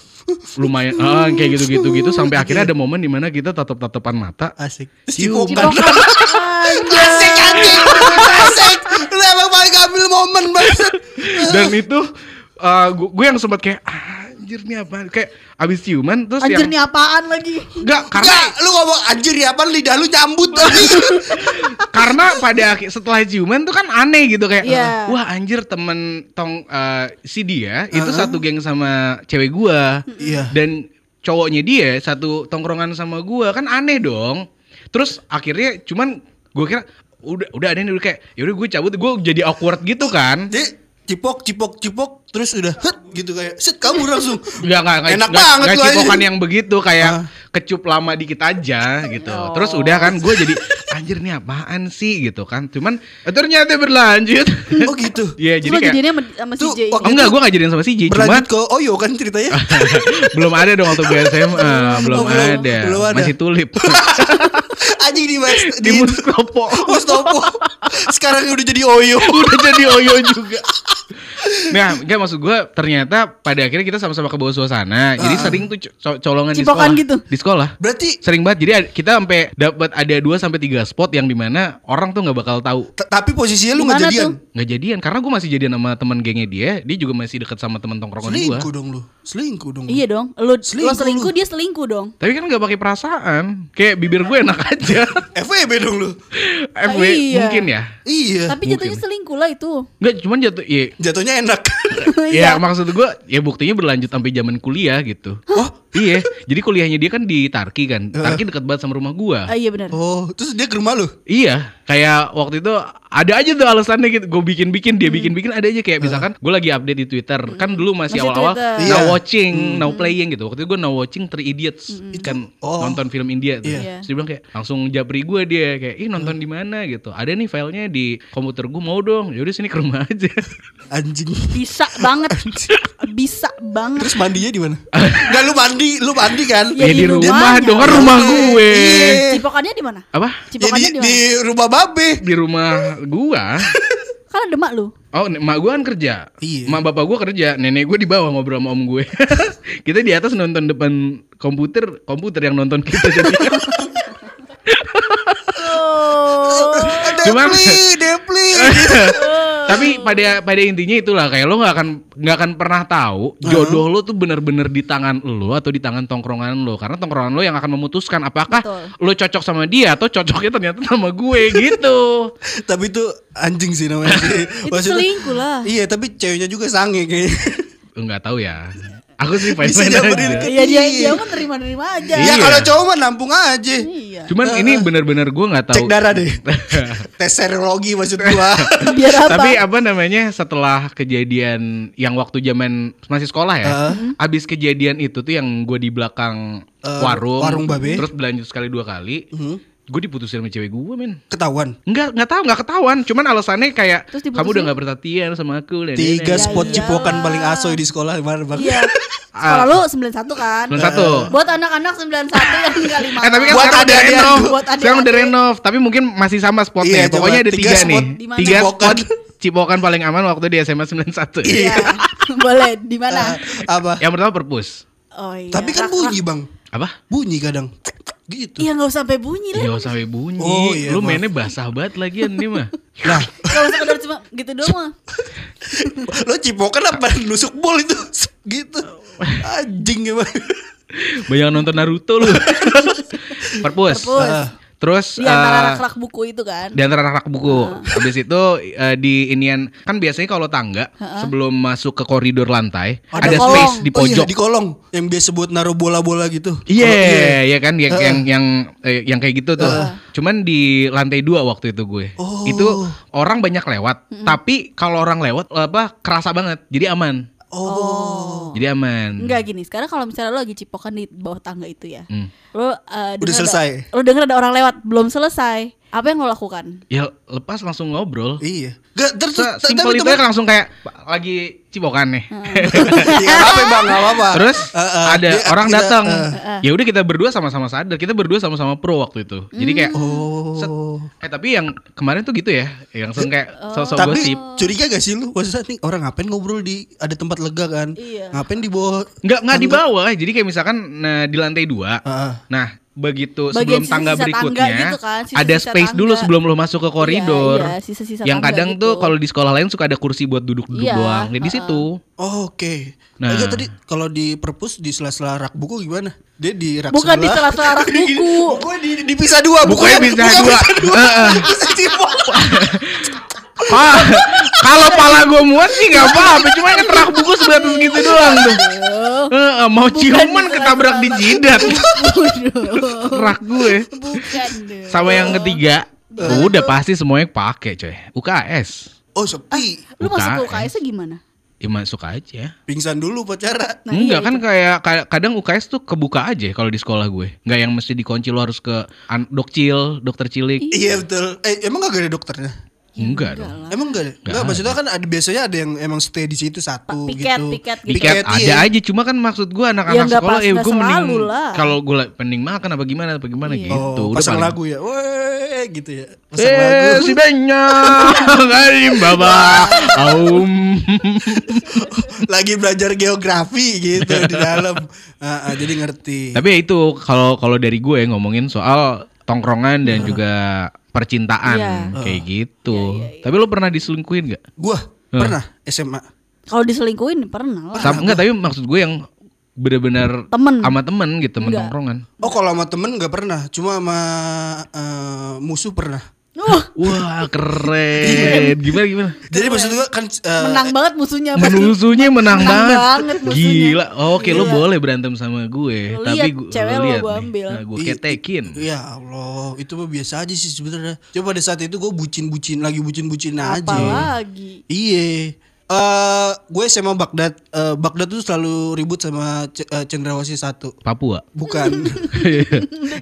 Speaker 1: lumayan ah, kayak gitu gitu gitu sampai akhirnya ada momen dimana kita tatap tatapan mata
Speaker 2: Asik.
Speaker 1: Cipokan.
Speaker 2: Cipokan. Asik anjing. Asik. Lu emang paling ambil momen banget.
Speaker 1: dan itu eh, gue yang sempat kayak "Ah, anjir nih apa kayak abis ciuman terus
Speaker 5: Anjir
Speaker 1: yang
Speaker 5: nih apaan lagi
Speaker 1: enggak karena
Speaker 2: Enggak, lu ngomong anjir ya apa lidah lu nyambut tadi.
Speaker 1: karena pada akhir setelah ciuman tuh kan aneh gitu kayak
Speaker 4: Iya.
Speaker 1: wah anjir temen tong eh, si dia itu satu geng sama cewek gua
Speaker 2: Iya.
Speaker 1: dan cowoknya dia satu tongkrongan sama gua kan aneh dong terus akhirnya cuman gua kira udah udah aneh udah kayak yaudah gue cabut gue jadi awkward gitu kan
Speaker 2: Jadi cipok cipok cipok terus udah hut gitu kayak set kamu langsung.
Speaker 1: Enggak, enggak, enggak,
Speaker 2: Enak
Speaker 1: enggak,
Speaker 2: banget
Speaker 1: enggak
Speaker 2: lu anjing.
Speaker 1: cipokan yang begitu kayak
Speaker 2: Ah.
Speaker 1: kecup lama dikit aja gitu. Terus udah kan gue jadi anjir nih apaan sih gitu kan. Cuman eh, ternyata berlanjut.
Speaker 2: Oh gitu.
Speaker 1: Iya, jadi
Speaker 4: Terus
Speaker 1: kayak
Speaker 4: jadinya sama- sama si
Speaker 2: Tuh,
Speaker 4: J ini.
Speaker 1: Oh, enggak, gue gak jadian sama si J, cuma
Speaker 2: Berlanjut ke Oyo kan
Speaker 1: Ah.
Speaker 2: ceritanya.
Speaker 1: belum ada dong waktu gue SMA, belum,
Speaker 2: Oh, belum,
Speaker 1: ada.
Speaker 2: belum ada.
Speaker 1: masih tulip
Speaker 2: Anjing di mas
Speaker 1: di Mustopo.
Speaker 2: Mustopo. Sekarang udah jadi Oyo.
Speaker 1: udah jadi oyo juga. Nah, enggak maksud gue ternyata pada akhirnya kita sama-sama ke bawah suasana.
Speaker 2: Ah.
Speaker 1: Jadi sering tuh co- co- colongan di
Speaker 4: Cipokan
Speaker 1: sekolah.
Speaker 4: gitu.
Speaker 1: Di sekolah.
Speaker 2: Berarti
Speaker 1: Sering banget. Jadi ad- kita sampai dapat ada 2 sampai 3 spot yang dimana orang tuh nggak bakal tahu
Speaker 2: t- tapi posisinya lu nggak
Speaker 4: Gimana
Speaker 2: jadian.
Speaker 4: tuh?
Speaker 1: nggak jadian karena gue masih jadian sama teman gengnya dia, dia juga masih dekat sama teman tongkrongan gue.
Speaker 2: Selingkuh dong lu. Selingkuh dong. lu.
Speaker 4: Iya dong. Lu selingkuh,
Speaker 2: Selingkuh
Speaker 4: lo selingkuh
Speaker 2: lu.
Speaker 4: dia selingkuh dong.
Speaker 1: Tapi kan nggak pakai perasaan. Kayak bibir gue enak aja.
Speaker 2: FWB dong lu.
Speaker 1: FW
Speaker 4: iya.
Speaker 1: mungkin ya.
Speaker 2: Iya.
Speaker 4: Tapi jatuhnya selingkuh lah itu.
Speaker 1: Enggak, cuman jatuh iya.
Speaker 2: Jatuhnya enak. Iya.
Speaker 4: Iya.
Speaker 1: ya maksud gue ya buktinya berlanjut sampai zaman kuliah gitu.
Speaker 2: Oh,
Speaker 1: iya. Jadi kuliahnya dia kan di Tarki kan. Tarki dekat banget sama rumah gua.
Speaker 4: Ah, iya benar.
Speaker 2: Oh, terus dia ke rumah lu?
Speaker 1: Iya, kayak waktu itu ada aja tuh alasannya gitu. Gue bikin-bikin, dia bikin-bikin ada aja kayak misalkan gue lagi update di Twitter. Kan dulu masih
Speaker 4: Masih
Speaker 1: awal-awal
Speaker 4: Twitter.
Speaker 1: now
Speaker 2: Iya.
Speaker 1: watching, now playing gitu. Waktu itu gue now watching Three Idiots kan
Speaker 2: oh.
Speaker 1: nonton film India tuh.
Speaker 2: Iya.
Speaker 4: Iya.
Speaker 1: Terus dia bilang kayak langsung japri gue dia kayak ih nonton di mana gitu. Ada nih filenya di komputer gue mau dong. Yaudah sini ke rumah aja.
Speaker 2: Anjing.
Speaker 4: Bisa banget.
Speaker 5: Bisa banget.
Speaker 2: Terus mandinya di mana? Enggak lu mandi, lu mandi kan?
Speaker 1: ya,
Speaker 4: Ya,
Speaker 1: di
Speaker 4: di
Speaker 1: rumah
Speaker 4: rumahnya.
Speaker 1: dong, kan rumah gue.
Speaker 2: Iya.
Speaker 4: Cipokannya di mana?
Speaker 1: Apa?
Speaker 2: Ya, di,
Speaker 4: Cipokannya di
Speaker 2: di
Speaker 4: mana?
Speaker 2: rumah babe.
Speaker 1: Di rumah gua.
Speaker 4: Kan ada mak lu.
Speaker 1: Oh, ne- emak gue kan kerja.
Speaker 2: Iya.
Speaker 1: Emak bapak gue kerja, nenek gue di bawah ngobrol sama om gue. kita di atas nonton depan komputer, komputer yang nonton kita jadi.
Speaker 2: Oh.
Speaker 1: Cuman-
Speaker 2: Depli, Depli.
Speaker 1: Tapi pada pada intinya itulah kayak lo nggak akan nggak akan pernah tahu jodoh lo tuh bener-bener di tangan lo atau di tangan tongkrongan lo karena tongkrongan lo yang akan memutuskan apakah
Speaker 4: Betul.
Speaker 1: lo cocok sama dia atau cocoknya ternyata sama gue gitu.
Speaker 2: tapi itu anjing sih namanya.
Speaker 4: Itu
Speaker 2: Maksudnya-
Speaker 4: selingkuh lah.
Speaker 2: Iya, tapi ceweknya juga sange kayaknya.
Speaker 1: Enggak tahu ya. Aku sih
Speaker 2: Bisa
Speaker 1: fine-fine
Speaker 2: nyamperin
Speaker 1: aja.
Speaker 2: ke
Speaker 5: Iya dia
Speaker 2: dia.
Speaker 5: dia mah terima-terima aja.
Speaker 2: Iya,
Speaker 1: Iya.
Speaker 2: kalau cowok mah nampung aja.
Speaker 5: Iya.
Speaker 1: Cuman ini bener-bener gue nggak tahu.
Speaker 2: Cek darah deh. Tes serologi maksud gua.
Speaker 5: Biar apa?
Speaker 1: Tapi ah. apa namanya setelah kejadian yang waktu zaman masih sekolah ya, abis kejadian itu tuh yang gue di belakang
Speaker 2: Eh,
Speaker 1: warung,
Speaker 2: warung babe. Hmm.
Speaker 1: terus berlanjut sekali dua kali, gue diputusin sama cewek gue men.
Speaker 2: Ketahuan.
Speaker 1: Nggak nggak tahu nggak ketahuan, cuman alasannya kayak
Speaker 4: Terus diputusin?
Speaker 1: kamu udah nggak perhatian sama aku. nenek-nenek."
Speaker 2: Tiga spot
Speaker 4: iyalah.
Speaker 2: cipokan paling asoy di sekolah kemarin Bang.
Speaker 5: Iya. Sekolah
Speaker 1: Ah.
Speaker 5: lu 91 kan?
Speaker 1: 91.
Speaker 5: Buat anak-anak 91 yang tinggal 5.
Speaker 1: Eh tapi kan sekarang
Speaker 2: Buat
Speaker 1: udah
Speaker 2: adik-adik
Speaker 1: renov,
Speaker 5: aku. Buat
Speaker 1: sekarang udah
Speaker 5: adik-adik.
Speaker 1: renov, tapi mungkin masih sama spotnya.
Speaker 2: Iya, coba.
Speaker 1: Pokoknya ada
Speaker 2: Tiga
Speaker 1: tiga, nih,
Speaker 2: spot
Speaker 5: di mana?
Speaker 1: tiga
Speaker 2: Cipokan.
Speaker 1: spot cipokan paling aman waktu di SMA 91.
Speaker 5: Iya. Boleh di
Speaker 2: Ah.
Speaker 5: mana?
Speaker 2: Apa?
Speaker 5: Iya,
Speaker 1: Yang pertama perpus,
Speaker 5: Oh iya.
Speaker 2: Tapi kan bunyi, Bang.
Speaker 1: apa?
Speaker 2: Bunyi kadang. Gitu.
Speaker 5: Iya enggak usah sampai bunyi lah.
Speaker 1: Iya usah sampai bunyi.
Speaker 2: Oh, iya,
Speaker 1: lu
Speaker 2: maaf.
Speaker 1: mainnya basah banget kan, lagian nih mah.
Speaker 2: Nah,
Speaker 4: Kalau sekedar cuma gitu doang. mah.
Speaker 2: lo cipokan apa nusuk bol itu gitu. Anjing emang.
Speaker 1: Banyak nonton Naruto lu. Perpus.
Speaker 4: Perpus.
Speaker 1: Heeh. Terus
Speaker 5: Di antara
Speaker 1: eh,
Speaker 5: rak-rak buku itu kan.
Speaker 1: di antara rak buku. Habis itu eh, di inian kan biasanya kalau tangga sebelum masuk ke koridor lantai ada,
Speaker 5: kolong.
Speaker 1: space di
Speaker 2: Oh iya,
Speaker 1: pojok.
Speaker 2: di kolong yang biasa buat naruh bola-bola gitu.
Speaker 1: Iya,
Speaker 2: Kalau-
Speaker 1: iya kan yang yang yang eh, yang kayak gitu tuh. Cuman di lantai dua waktu itu gue.
Speaker 2: Oh.
Speaker 1: Itu orang banyak lewat, tapi kalau orang lewat apa kerasa banget. Jadi aman.
Speaker 2: Oh.
Speaker 1: Jadi aman.
Speaker 4: Enggak gini, sekarang kalau misalnya lo lagi cipokan di bawah tangga itu ya.
Speaker 1: Hmm.
Speaker 4: Lo uh, denger ada-
Speaker 2: selesai.
Speaker 4: Lo denger ada orang lewat, belum selesai. Apa yang lo lakukan?
Speaker 1: Ya lepas langsung ngobrol.
Speaker 2: Iya. Gak terus
Speaker 1: Se-
Speaker 2: tapi
Speaker 1: Simpel itu
Speaker 2: temen-
Speaker 1: aja langsung kayak "Pak, lagi cipokan nih.
Speaker 4: Hmm.
Speaker 2: Iya, gak apa-apa Bang, gak apa-apa.
Speaker 1: Terus
Speaker 2: Eh, eh,
Speaker 1: ada
Speaker 2: dia-
Speaker 1: orang
Speaker 2: kita-
Speaker 1: datang.
Speaker 2: eh,
Speaker 1: Ya udah kita berdua sama-sama sadar. Kita berdua sama-sama pro waktu itu. Jadi
Speaker 4: Hmm.
Speaker 1: kayak set.
Speaker 2: Oh.
Speaker 1: Eh tapi yang kemarin tuh gitu ya. Yang langsung kayak
Speaker 4: Oh.
Speaker 1: sosok
Speaker 2: tapi
Speaker 1: gosip.
Speaker 2: curiga gak sih lu? Maksudnya nih orang ngapain ngobrol di ada tempat lega kan?
Speaker 4: Iya.
Speaker 2: Ngapain di bawah?
Speaker 1: Enggak enggak di
Speaker 2: tangga?
Speaker 1: bawah. Jadi kayak misalkan nah, di lantai dua.
Speaker 2: Heeh.
Speaker 1: Nah, begitu sebelum
Speaker 4: Bagian
Speaker 1: tangga
Speaker 4: sisa-sisa tangga
Speaker 1: berikutnya
Speaker 4: gitu kan, sisa-sisa
Speaker 1: ada space
Speaker 4: tangga.
Speaker 1: dulu sebelum lo masuk ke koridor.
Speaker 4: Iya, iya, sisa-sisa
Speaker 1: yang
Speaker 4: tangga
Speaker 1: kadang
Speaker 4: gitu.
Speaker 1: tuh kalau di sekolah lain suka ada kursi buat duduk-duduk
Speaker 4: Iya,
Speaker 1: doang. Jadi di situ.
Speaker 2: Oh, Oke.
Speaker 1: Nah.
Speaker 2: Nah, tadi kalau di perpus di sela-sela rak buku gimana? Dia di rak
Speaker 4: Bukan di
Speaker 2: sebelah.
Speaker 4: sela-sela rak buku.
Speaker 2: Bukunya di, dipisah dua,
Speaker 1: Bukunya dipisah dua. Heeh.
Speaker 2: Dipisah dua.
Speaker 1: Ah, kalau pala gue muat sih nggak apa-apa, cuma ini terak buku sebatas gitu doang tuh. Heeh, mau ciuman ketabrak di jidat. Terak gue.
Speaker 5: Bukan deh.
Speaker 1: Sama yang ketiga, udah pasti semuanya pakai coy. UKS.
Speaker 2: Oh, sepi.
Speaker 4: Lo masuk ke
Speaker 1: UKS.
Speaker 4: UKS-nya gimana?
Speaker 1: Ya masuk aja.
Speaker 2: Pingsan dulu pacara.
Speaker 4: Nah,
Speaker 1: Enggak
Speaker 4: iya
Speaker 1: kan kayak ka- kadang UKS tuh kebuka aja kalau di sekolah gue. Enggak yang mesti dikunci lo harus ke an- dokcil, dokter cilik.
Speaker 2: Iya betul. Eh, emang gak ada dokternya?
Speaker 1: Enggak dong.
Speaker 2: Emang gak ada? Enggak, maksudnya kan ada biasanya ada yang emang stay di situ satu
Speaker 4: Piket,
Speaker 2: gitu.
Speaker 4: piket gitu.
Speaker 1: Tiket ada
Speaker 2: iya.
Speaker 1: aja cuma kan maksud gua
Speaker 4: Ya
Speaker 1: anak-anak
Speaker 4: nggak
Speaker 1: sekolah
Speaker 4: pas-
Speaker 1: eh
Speaker 4: nggak
Speaker 1: gua mending
Speaker 4: selalu lah. Iya.
Speaker 1: kalau gua la- mending makan apa gimana apa gimana gitu
Speaker 2: Oh, pasang
Speaker 1: paling-
Speaker 2: lagu ya. Weh gitu ya. Pasang lagu.
Speaker 1: Eh, si Benya Karim Baba Aum
Speaker 2: Lagi belajar geografi gitu di dalam. Ah, ah, jadi ngerti.
Speaker 1: Tapi ya itu kalau kalau dari gue ngomongin soal tongkrongan dan juga percintaan
Speaker 4: Iya.
Speaker 1: kayak
Speaker 5: Iya,
Speaker 1: gitu. Tapi lo pernah diselingkuhin gak?
Speaker 2: Gua
Speaker 1: Hmm.
Speaker 2: pernah SMA.
Speaker 4: Kalau diselingkuhin pernah lah.
Speaker 1: Sama, enggak, tapi maksud gue yang benar-benar
Speaker 4: Temen.
Speaker 1: sama temen gitu, temen tongkrongan.
Speaker 2: Oh, kalau sama temen nggak pernah, cuma sama eh, musuh pernah.
Speaker 5: Oh,
Speaker 1: Wah keren. Gimana gimana?
Speaker 4: Iya.
Speaker 2: Jadi maksud gua kan eh,
Speaker 5: menang banget musuhnya pasti.
Speaker 1: Musuhnya
Speaker 5: Menang
Speaker 1: menang, banget.
Speaker 5: banget musuhnya.
Speaker 1: Gila. Oh, Oke, lu
Speaker 5: Gila.
Speaker 1: boleh berantem sama gue,
Speaker 5: Lu
Speaker 1: tapi
Speaker 5: lihat
Speaker 1: gue
Speaker 5: cewek lu, gua ambil.
Speaker 1: gue
Speaker 2: Ih,
Speaker 1: Nah, ketekin.
Speaker 2: Ya Allah, itu mah biasa aja sih sebenarnya. Coba pada saat itu gue bucin-bucin lagi bucin-bucin aja.
Speaker 5: Apalagi.
Speaker 2: Iya. Eh, gue SMA Baghdad. Eh, Baghdad tuh selalu ribut sama C- eh, Cendrawasih satu.
Speaker 1: Papua.
Speaker 2: Bukan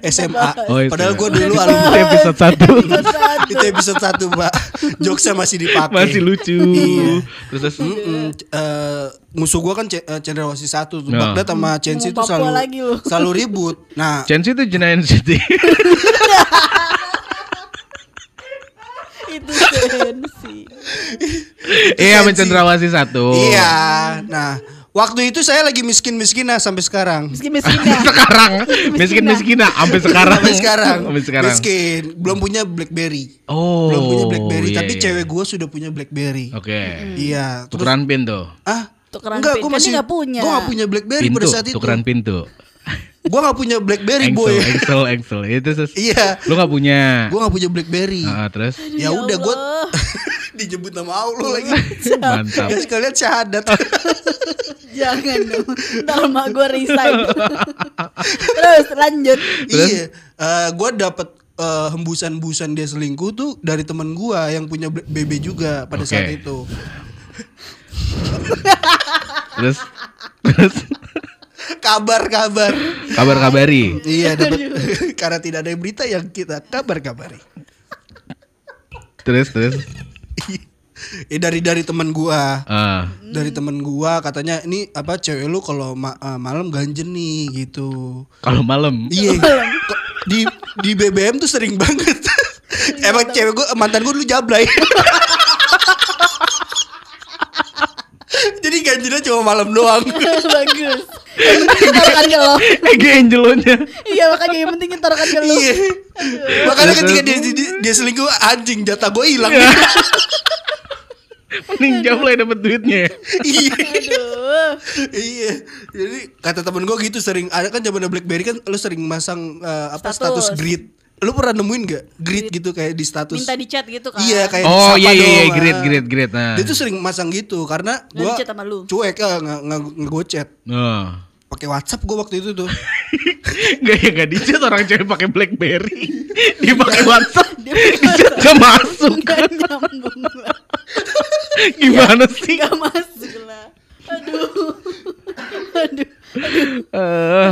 Speaker 2: SMA.
Speaker 1: Oh, itu
Speaker 2: Padahal
Speaker 1: ya.
Speaker 2: gue dulu
Speaker 1: Itu
Speaker 2: alumni.
Speaker 1: episode 1
Speaker 2: itu episode satu, Mbak. Jokesnya masih dipakai.
Speaker 1: Masih lucu.
Speaker 2: Iya.
Speaker 1: Terus terus
Speaker 2: Mm-mm. C- eh, musuh gua kan C- eh, Cendrawasih satu tuh.
Speaker 1: Nah.
Speaker 2: Baghdad sama
Speaker 5: Ngomong
Speaker 2: Chensi tuh
Speaker 5: Papua
Speaker 2: selalu
Speaker 5: lagi lu.
Speaker 2: selalu ribut. Nah,
Speaker 1: Chance itu Jenayan
Speaker 2: Iya,
Speaker 1: City.
Speaker 5: Itu sensi.
Speaker 1: Iya, sama Cendrawasih satu.
Speaker 2: iya. Nah, waktu itu saya lagi miskin-miskin nah sampai sekarang.
Speaker 5: Miskin miskinnya.
Speaker 1: sekarang miskin miskinah sampai sekarang
Speaker 2: nah. Sampai sekarang.
Speaker 1: ya? sampai sekarang
Speaker 2: Miskin, belum punya BlackBerry.
Speaker 1: oh
Speaker 2: belum punya BlackBerry,
Speaker 1: iya,
Speaker 2: tapi
Speaker 1: iya.
Speaker 2: cewek gua sudah punya BlackBerry.
Speaker 1: oke
Speaker 2: Iya, terus
Speaker 1: tukeran pin tuh
Speaker 2: ah
Speaker 5: Tukeran
Speaker 2: enggak,
Speaker 5: pin,
Speaker 2: gua
Speaker 5: kan
Speaker 2: masih
Speaker 5: dia nggak punya.
Speaker 2: Gua nggak punya BlackBerry
Speaker 1: pintu
Speaker 2: pada saat itu.
Speaker 1: tukeran pintu
Speaker 2: Gua nggak punya
Speaker 1: engsel
Speaker 2: BlackBerry, boy.
Speaker 1: engsel engsel itu sus
Speaker 2: Iya.
Speaker 1: lu nggak punya
Speaker 2: Gua nggak punya BlackBerry.
Speaker 1: Ah, terus
Speaker 2: ya udah gue
Speaker 5: Allah. Ya
Speaker 2: dijemput nama Allah lagi
Speaker 1: mantap
Speaker 2: guys kalian syahadat
Speaker 1: Ah,
Speaker 5: Jangan dong. Ntar emak gue resign. Terus lanjut.
Speaker 2: iya gue dapet eh, hembusan-hembusan dia selingkuh tuh dari temen gue yang punya B- BB juga pada
Speaker 1: Oke.
Speaker 2: saat itu
Speaker 1: terus terus
Speaker 2: kabar-kabar
Speaker 1: kabar kabari
Speaker 2: iya dapet karena tidak ada berita yang kita kabar-kabari
Speaker 1: terus terus
Speaker 2: Eh, dari dari temen gue
Speaker 1: ah
Speaker 2: dari temen gua katanya ini apa cewek lu kalau ma- eh, malam ganjen nih gitu
Speaker 1: kalau malam
Speaker 2: Iya. Kok Di di BBM tuh sering banget. Emang cewek gue mantan gue dulu jablay. Jadi ganjilnya cuma malam doang.
Speaker 5: Bagus. Yang penting taruhkan ke lo.
Speaker 1: eh Angelonya
Speaker 5: Iya makanya yang penting taruhkan ke lo.
Speaker 2: Iya. Makanya ketika dia, dia, dia selingkuh anjing jatah gue hilang.
Speaker 1: mending jauh lah dapet duitnya
Speaker 2: Iya.
Speaker 5: Aduh.
Speaker 2: Iya. Jadi kata temen gue gitu sering ada kan zaman BlackBerry kan lu sering masang eh, apa status,
Speaker 5: Status.
Speaker 2: grid. Lu pernah nemuin gak grid gitu kayak di status?
Speaker 4: minta di chat gitu kan
Speaker 2: Iya kayak
Speaker 1: oh
Speaker 2: disapa
Speaker 1: iya iya iya
Speaker 2: doang.
Speaker 1: great great great nah
Speaker 2: Dia tuh sering masang gitu karena
Speaker 4: Nggak
Speaker 2: gua
Speaker 4: di-chat sama lu?
Speaker 2: cuek eh, nggak nggak nggak gua chat.
Speaker 1: Oh.
Speaker 2: Pakai WhatsApp gua waktu itu tuh.
Speaker 1: Gak ya gak dicat orang cewek pakai BlackBerry Dia pakai WhatsApp Dicat gak masuk
Speaker 5: Gak nyambung lah.
Speaker 1: Gimana sih
Speaker 5: Gak masuk lah. Aduh. Aduh.
Speaker 1: Eh,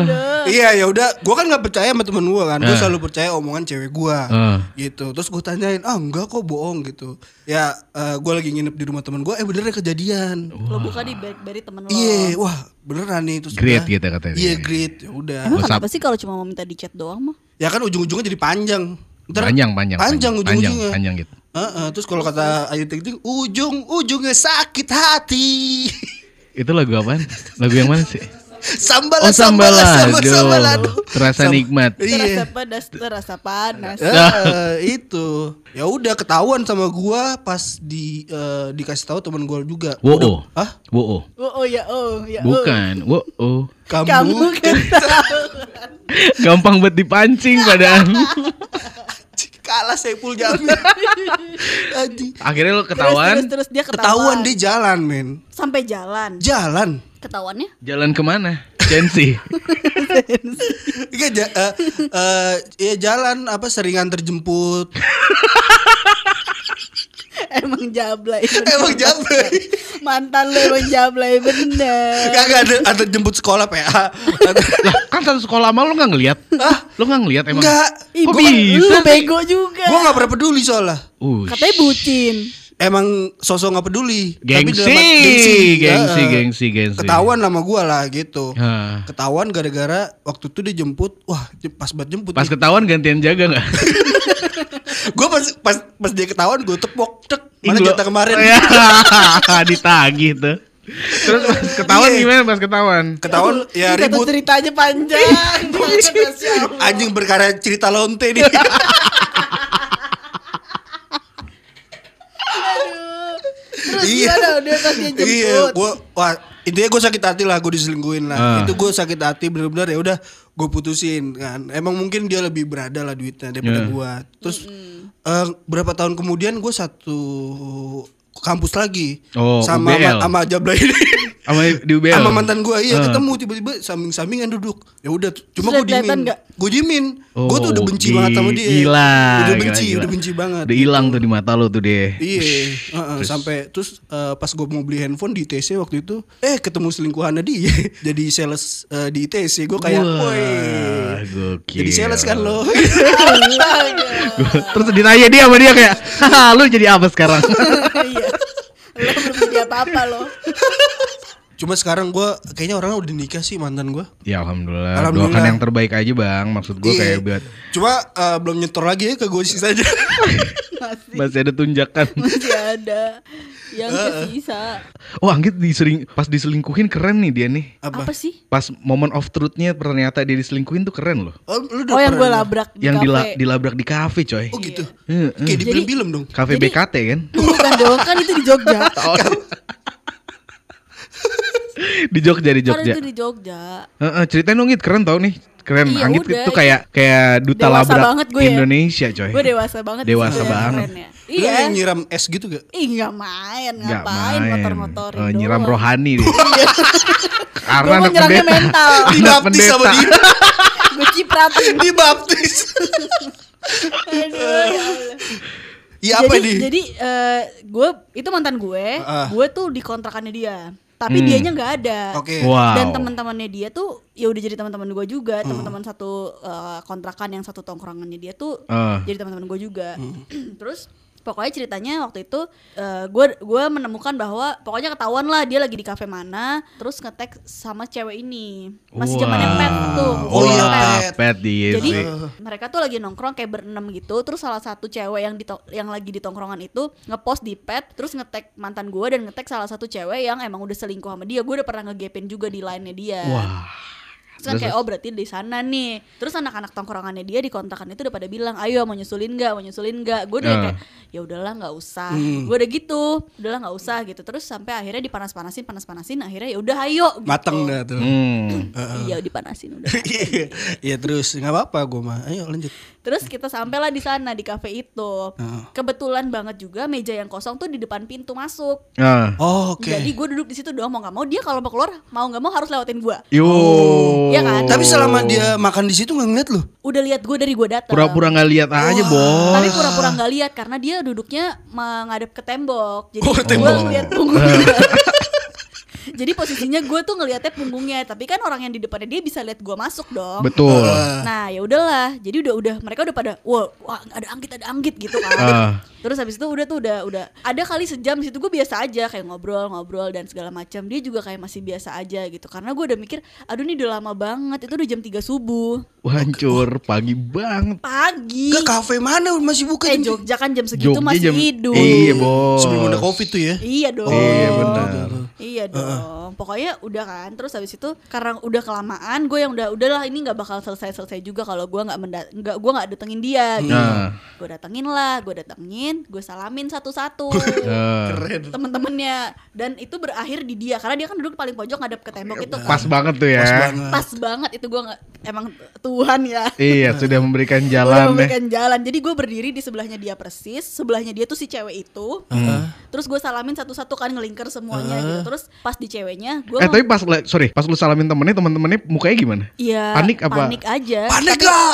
Speaker 2: iya ya udah, gua kan nggak percaya sama temen gua kan. Gua
Speaker 1: Eh.
Speaker 2: selalu percaya omongan cewek gua.
Speaker 1: Eh.
Speaker 2: Gitu. Terus gua tanyain, "Ah, enggak kok bohong." gitu. Ya eh, gua lagi nginep di rumah temen gua, eh benernya kejadian.
Speaker 4: lo buka di BlackBerry temen lo
Speaker 2: Iya, wah, beneran nih terus
Speaker 1: Great
Speaker 2: udah.
Speaker 1: gitu katanya.
Speaker 2: Iya, great. Ya udah.
Speaker 4: emang
Speaker 1: WhatsApp.
Speaker 4: kenapa sih kalau cuma mau minta di chat doang mah
Speaker 2: Ya kan ujung-ujungnya jadi panjang. Ntar-
Speaker 1: Panjang panjang
Speaker 2: Panjang
Speaker 1: Panjang
Speaker 2: ujung-ujungnya.
Speaker 1: panjang gitu
Speaker 2: Heeh, terus kalau kata Ayu Ting Ting, ujung-ujungnya sakit hati.
Speaker 1: Itu lagu apaan? Lagu yang mana sih?
Speaker 2: Sambalan,
Speaker 1: Oh
Speaker 2: sambalan,
Speaker 1: sambalado
Speaker 2: sambalan, sambalan.
Speaker 1: Terasa
Speaker 2: Sam-
Speaker 1: nikmat
Speaker 5: Terasa
Speaker 2: Iya.
Speaker 5: pedas, terasa panas.
Speaker 2: Heeh, itu. Ya udah ketahuan sama gua pas di eh, dikasih tahu teman gua juga. Udah-
Speaker 1: Wo
Speaker 2: Hah?
Speaker 1: Wo
Speaker 5: Oh, oh ya oh ya oh.
Speaker 1: Bukan Wo
Speaker 2: Kamu,
Speaker 5: Kamu
Speaker 1: Gampang buat dipancing padahal
Speaker 2: kalah Saiful Jamil. Anjing.
Speaker 1: Akhirnya lo
Speaker 5: Terus, terus,
Speaker 1: ketahuan
Speaker 5: terus dia ketahuan.
Speaker 2: ketahuan dia jalan, men.
Speaker 4: sampai jalan
Speaker 2: Jalan.
Speaker 4: ketahuannya
Speaker 1: Jalan kemana? Jensi
Speaker 2: Iya, ja- eh, eh, ya jalan apa seringan terjemput.
Speaker 5: Emang jablay. bener.
Speaker 2: Emang jablay.
Speaker 5: Mantan lu emang jablay bener.
Speaker 2: Gak ada ada jemput sekolah PA.
Speaker 1: Lah kan satu sekolah sama lo gak ngeliat
Speaker 2: Hah?
Speaker 1: Lo gak ngeliat emang?
Speaker 2: Enggak.
Speaker 5: Ih,
Speaker 1: Kok
Speaker 5: gua kan-
Speaker 1: bisa
Speaker 5: Lu
Speaker 1: sih?
Speaker 5: bego juga.
Speaker 2: Gua nggak pernah peduli soalnya.
Speaker 1: Uh,
Speaker 5: Katanya bucin.
Speaker 2: emang sosok nggak peduli Tapi
Speaker 1: Gengsi,
Speaker 2: dalam hati-
Speaker 1: gengsi,
Speaker 2: Heeh.
Speaker 1: gengsi, Ya. gengsi.
Speaker 2: ketahuan nama gua lah gitu
Speaker 1: Hah.
Speaker 2: ketahuan gara-gara waktu itu dijemput wah jem- pas banget jemput
Speaker 1: Pas ketahuan gantian jaga gak?
Speaker 2: gue pas, pas pas dia ketahuan gue tepok tek mana
Speaker 1: Ih,
Speaker 2: jatah
Speaker 1: gua-
Speaker 2: kemarin
Speaker 1: Ya, ditagih tuh. Terus pas ketahuan
Speaker 2: Iya.
Speaker 1: gimana pas ketahuan?
Speaker 2: ketahuan
Speaker 5: Ini
Speaker 2: ya
Speaker 5: satu
Speaker 2: ribut Iya.
Speaker 5: ceritanya panjang. banget, Masya Allah.
Speaker 2: anjing berkarya cerita lonte nih
Speaker 5: Aduh. Terus
Speaker 2: Iya.
Speaker 5: gimana udah pas dia jemput.
Speaker 2: iya gue Iya, wah intinya gue sakit hati lah gue diselingkuhin
Speaker 1: Ah.
Speaker 2: lah itu gue sakit hati bener-bener ya udah gue putusin kan emang mungkin dia lebih berada lah duitnya daripada
Speaker 1: Yeah.
Speaker 2: gue terus eh, berapa tahun kemudian gue satu kampus lagi
Speaker 1: Oh,
Speaker 2: sama
Speaker 1: UBL.
Speaker 2: sama Jabla ini
Speaker 1: Sama di UBL.
Speaker 2: sama mantan gue iya
Speaker 1: Ah.
Speaker 2: ketemu tiba-tiba samping-sampingan duduk ya udah t- cuma
Speaker 5: Sudah
Speaker 2: gue diemin
Speaker 5: kelihatan nggak?
Speaker 2: gue diemin gue tuh udah
Speaker 1: Oh,
Speaker 2: benci
Speaker 1: gi-
Speaker 2: banget sama dia
Speaker 1: Gila.
Speaker 2: udah
Speaker 1: gila,
Speaker 2: benci
Speaker 1: gila.
Speaker 2: udah benci banget
Speaker 1: Udah hilang tuh di mata lo tuh deh.
Speaker 2: iya heeh, sampai terus eh, pas gue mau beli handphone di ITC waktu itu eh ketemu selingkuhannya dia jadi sales eh, di ITC gue kayak
Speaker 1: Wah,
Speaker 2: woi
Speaker 1: gokil.
Speaker 2: jadi sales kan lo
Speaker 1: Gua- Terus ditanya dia sama dia kayak, "Haha, lu jadi apa sekarang?"
Speaker 5: Iya. Lo belum jadi apa-apa lo.
Speaker 2: cuma sekarang gue kayaknya orangnya udah nikah sih mantan gue
Speaker 1: ya alhamdulillah.
Speaker 2: Alhamdulillah.
Speaker 1: Doakan yang terbaik aja, Bang. Maksud gue
Speaker 5: Iya.
Speaker 1: kayak buat
Speaker 2: Iya. cuma eh, belum nyetor lagi ya ke gue sih saja
Speaker 5: Masih
Speaker 1: masih ada tunjakan.
Speaker 5: masih ada Ya yang
Speaker 2: Eh,
Speaker 5: tersisa.
Speaker 1: Oh, Anggit disering pas diselingkuhin keren nih dia nih.
Speaker 2: apa,
Speaker 4: Apa sih?
Speaker 1: Pas moment of truth-nya ternyata dia diselingkuhin tuh keren loh.
Speaker 2: Oh, lu udah
Speaker 5: Oh yang gue
Speaker 2: pernah-
Speaker 5: labrak di
Speaker 1: Yang
Speaker 5: kafe.
Speaker 1: dila- dilabrak di kafe, coy.
Speaker 2: oh gitu
Speaker 1: Heeh.
Speaker 2: kayak di film-film dong
Speaker 1: Kafe
Speaker 4: Jadi-
Speaker 1: BKT kan?
Speaker 5: Bukan dong, kan itu di Jogja.
Speaker 1: di Jogja, di
Speaker 4: Kan
Speaker 1: Jogja.
Speaker 4: itu di Jogja.
Speaker 1: Heeh, ceritain dong Git, keren tau nih. Keren.
Speaker 4: Iya,
Speaker 1: Anggit
Speaker 4: udah,
Speaker 1: itu
Speaker 4: iya.
Speaker 1: kayak kayak duta
Speaker 5: Dewasa
Speaker 1: labrak
Speaker 5: banget gue ya.
Speaker 1: Indonesia, coy.
Speaker 5: Gue dewasa banget. di
Speaker 1: Eh. Dewasa
Speaker 5: situ ya,
Speaker 1: banget.
Speaker 5: keren ya.
Speaker 2: Lu
Speaker 5: Iya.
Speaker 2: yang nyiram es gitu gak?
Speaker 5: Ih nggak main,
Speaker 1: Nggak
Speaker 5: ngapain
Speaker 1: main.
Speaker 5: motor-motorin
Speaker 1: Eh, nyiram
Speaker 5: doang. Iya.
Speaker 1: rohani deh. Karena
Speaker 5: Gua mau
Speaker 1: anak
Speaker 5: nyerangnya
Speaker 1: pendeta.
Speaker 5: mental.
Speaker 1: Anak
Speaker 2: Dibaptis sama
Speaker 1: pendeta.
Speaker 2: dia
Speaker 5: Gue cipratin.
Speaker 2: Dibaptis
Speaker 5: Aduh, ya Allah.
Speaker 2: Iya apa
Speaker 5: jadi,
Speaker 2: nih?
Speaker 5: Jadi eh, gue itu mantan gue,
Speaker 2: Ah.
Speaker 5: gue tuh di kontrakannya dia. Tapi
Speaker 1: Hmm.
Speaker 5: dianya nggak ada.
Speaker 2: Oke
Speaker 1: Wow.
Speaker 4: Dan teman-temannya dia tuh ya udah jadi teman-teman gue juga,
Speaker 2: Hmm.
Speaker 4: teman-teman satu eh, kontrakan yang satu tongkrongannya dia tuh
Speaker 2: Ah.
Speaker 1: Eh.
Speaker 4: jadi teman-teman gue juga.
Speaker 2: Hmm.
Speaker 4: Terus pokoknya ceritanya waktu itu eh, gue gue menemukan bahwa pokoknya ketahuan lah dia lagi di kafe mana, terus ngetek sama cewek ini masih zamannya
Speaker 1: Wah.
Speaker 4: pet tuh.
Speaker 2: Oh iya,
Speaker 1: Wah,
Speaker 2: Pet.
Speaker 1: pet dia
Speaker 4: Jadi
Speaker 1: Iya sih.
Speaker 4: mereka tuh lagi nongkrong kayak berenam gitu, terus salah satu cewek yang di to- yang lagi di tongkrongan itu ngepost di pet, terus ngetek mantan gue dan ngetek salah satu cewek yang emang udah selingkuh sama dia. Gue udah pernah ngegepin juga di line-nya dia.
Speaker 1: Wah.
Speaker 4: Terus kan kayak oh berarti di sana nih. Terus anak-anak tongkrongannya dia di kontakan itu udah pada bilang, "Ayo mau nyusulin nggak? Mau nyusulin nggak?" Gue udah
Speaker 1: Ah.
Speaker 4: kayak ya udahlah nggak usah. Gue udah gitu, udahlah nggak usah gitu. Terus sampai akhirnya dipanas-panasin, panas-panasin, akhirnya ya udah ayo gitu.
Speaker 2: Mateng dah tuh
Speaker 1: Hmm.
Speaker 4: Iya dipanasin udah.
Speaker 2: Iya Iya, terus nggak apa-apa gue mah Ayo lanjut
Speaker 4: Terus kita sampailah di sana di kafe itu.
Speaker 2: Heeh.
Speaker 4: Kebetulan banget juga meja yang kosong tuh di depan pintu masuk.
Speaker 1: Ah.
Speaker 2: Oh, Oke
Speaker 4: Jadi gue duduk di situ doang mau nggak mau dia kalau mau keluar mau nggak mau harus lewatin gue.
Speaker 1: Yo.
Speaker 4: Iya kan?
Speaker 2: Tapi selama dia makan di situ nggak ngeliat lu
Speaker 4: Udah lihat gue dari gue datang.
Speaker 1: pura-pura nggak lihat aja, Bos.
Speaker 2: Oh.
Speaker 4: Tapi pura-pura nggak lihat karena dia duduknya menghadap ke tembok. Jadi
Speaker 2: Oh, ke
Speaker 4: gue
Speaker 2: tembok.
Speaker 4: lihat punggungnya. Jadi posisinya gue tuh ngelihatnya punggungnya, tapi kan orang yang di depannya dia bisa lihat gue masuk dong.
Speaker 1: Betul.
Speaker 2: Ah.
Speaker 4: Nah ya udahlah, jadi udah udah mereka udah pada wah, wah, ada anggit ada anggit gitu kan.
Speaker 1: Ah.
Speaker 4: Terus habis itu udah tuh udah udah ada kali sejam di situ gue biasa aja kayak ngobrol ngobrol dan segala macam. Dia juga kayak masih biasa aja gitu karena gue udah mikir aduh ini udah lama banget itu udah jam 3 subuh
Speaker 1: Hancur pagi banget.
Speaker 4: pagi.
Speaker 2: Ke kafe mana masih buka
Speaker 4: Eh
Speaker 2: jam-
Speaker 4: Jogja kan jam segitu masih hidup.
Speaker 1: Iya, Bos.
Speaker 2: Sebelum ada covid tuh ya
Speaker 4: Iya dong.
Speaker 1: Iya, benar.
Speaker 4: Iya dong. Pokoknya udah kan. Terus habis itu karena udah kelamaan, gue yang udah udahlah ini nggak bakal selesai-selesai juga kalau gue nggak menda- nggak gue nggak datengin
Speaker 2: Iya.
Speaker 4: dia. Gitu.
Speaker 1: Nah.
Speaker 4: Gue datengin lah, gue datengin, gue salamin satu-satu.
Speaker 1: Ah.
Speaker 4: temen-temennya dan itu berakhir di dia karena dia kan duduk paling pojok ngadep ke tembok itu kan.
Speaker 1: Pas banget tuh ya.
Speaker 2: Pas banget
Speaker 4: pas banget itu gue nggak emang
Speaker 5: Tuhan ya.
Speaker 1: Iya, sudah memberikan
Speaker 5: Udah
Speaker 1: jalan ya. deh.
Speaker 5: memberikan jalan.
Speaker 4: jadi gue berdiri di sebelahnya dia persis sebelahnya dia tuh si cewek itu
Speaker 2: Hmm.
Speaker 4: terus gue salamin satu-satu kan ngelingker semuanya gitu terus pas di ceweknya gue
Speaker 1: Eh, tapi pas le- sorry, pas lu salamin temennya, teman-temannya mukanya gimana?
Speaker 4: Iya,
Speaker 1: Panik apa?
Speaker 4: Panik aja.
Speaker 2: Panik gak?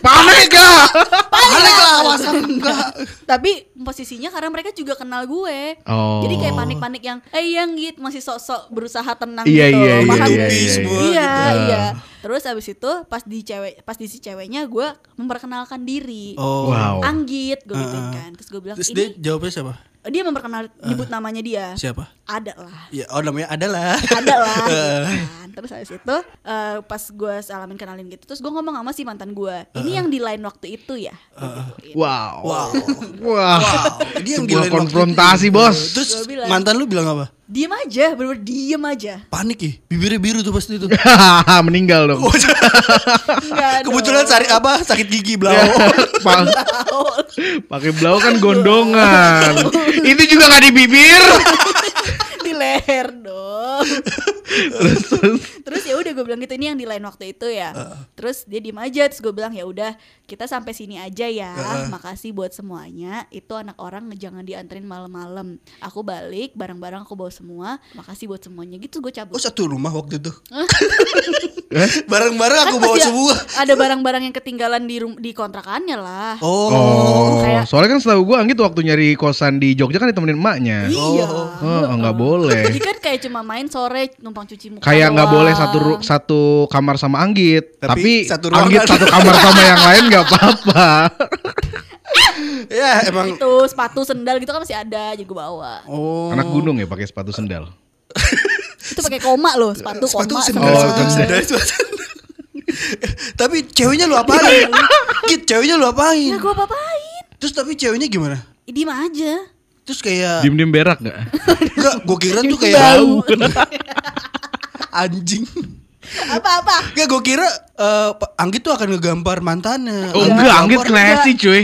Speaker 1: Panik gak?
Speaker 2: Panik gak? Alasan gak?
Speaker 4: Tapi posisinya karena mereka juga kenal gue.
Speaker 1: Oh.
Speaker 4: Jadi kayak panik-panik yang eh yang gitu masih sok-sok berusaha tenang
Speaker 1: Iya,
Speaker 4: gitu.
Speaker 1: iya,
Speaker 4: paham
Speaker 1: iya,
Speaker 4: gak?
Speaker 1: iya,
Speaker 2: semua
Speaker 4: Iya,
Speaker 1: gitu.
Speaker 4: iya. Terus abis itu pas di cewek pas di si ceweknya gue memperkenalkan diri.
Speaker 2: Oh
Speaker 1: Wow.
Speaker 4: Anggit gue gituin kan. Terus gue bilang
Speaker 2: Terus
Speaker 4: ini
Speaker 2: dia
Speaker 4: dia,
Speaker 2: jawabnya siapa?
Speaker 4: memperkenal nyebut namanya dia.
Speaker 2: Siapa?
Speaker 4: Ada lah.
Speaker 2: Ya, oh namanya adalah
Speaker 4: ada lah gitu kan. terus habis itu eh, pas gue salamin kenalin gitu terus gue ngomong sama si mantan gue ini yang di lain waktu itu ya Gitu.
Speaker 1: Wow.
Speaker 2: Wow.
Speaker 1: Wah.
Speaker 2: Dia yang di
Speaker 1: Sebuah
Speaker 2: lain waktu
Speaker 1: konfrontasi,
Speaker 2: itu.
Speaker 1: Bos.
Speaker 2: Terus
Speaker 4: Gua bilang.
Speaker 2: mantan lu bilang apa?
Speaker 4: diem aja bener-bener diem aja
Speaker 2: Panik ya? Bibirnya biru tuh pasti itu
Speaker 1: Hahaha, meninggal dong.
Speaker 4: Enggak dong.
Speaker 2: Kebetulan sari apa sakit gigi belau.
Speaker 1: Iya. Pa- Pakai blau kan gondongan. Itu juga nggak di bibir.
Speaker 5: Di leher dong.
Speaker 4: tahu. terus ya udah gue bilang gitu ini yang di lain waktu itu ya. Terus dia diem aja terus gue bilang ya udah kita sampai sini aja ya. Makasih buat semuanya. Itu anak orang jangan dianterin malam-malam. Aku balik barang-barang aku bawa semua. Makasih buat semuanya gitu gue
Speaker 2: Oh
Speaker 4: cabut.
Speaker 2: satu rumah waktu itu. Barang-barang aku
Speaker 4: Kan
Speaker 2: Oh, bawa
Speaker 4: pasti
Speaker 2: semua.
Speaker 4: Ada barang-barang yang ketinggalan di rum- di kontrakannya lah.
Speaker 2: Oh.
Speaker 1: Oh,
Speaker 4: Kayak-
Speaker 1: soalnya kan setahu gue Anggit waktu nyari kosan di Jogja kan ditemenin emaknya.
Speaker 4: Iya.
Speaker 1: Oh, nggak boleh.
Speaker 4: Jadi kan kayak cuma main sore numpang cuci muka.
Speaker 1: Kayak nggak
Speaker 4: doang.
Speaker 1: boleh satu ru- satu kamar sama Anggit,
Speaker 2: Tapi
Speaker 1: tapi,
Speaker 2: satu ruangan.
Speaker 1: Anggit satu kamar sama yang lain nggak apa-apa.
Speaker 2: Ya emang.
Speaker 4: Itu sepatu sendal gitu kan masih ada jadi gue bawa.
Speaker 2: Oh.
Speaker 1: Anak gunung ya pakai sepatu sendal.
Speaker 4: Itu pakai koma loh, sepatu,
Speaker 2: Sepatu
Speaker 4: koma.
Speaker 2: sendal,
Speaker 1: Oh,
Speaker 2: sepatu
Speaker 4: iya.
Speaker 2: sendal, sepatu sendal. Tapi ceweknya lu
Speaker 4: Iya.
Speaker 2: apain? Git, ceweknya lu
Speaker 4: Ya
Speaker 2: apain?
Speaker 4: gue apa-apain?
Speaker 2: Terus tapi ceweknya gimana?
Speaker 4: Diem aja.
Speaker 2: Terus kayak
Speaker 1: Diem-diem berak nggak?
Speaker 2: enggak gua kira tuh kayak Iya. anjing.
Speaker 5: Apa-apa?
Speaker 2: Enggak gua kira eh, Pa- Anggit tuh akan ngegampar mantannya.
Speaker 1: Oh
Speaker 2: Akan
Speaker 1: enggak, Anggit
Speaker 2: ngegampar.
Speaker 1: classy cuy.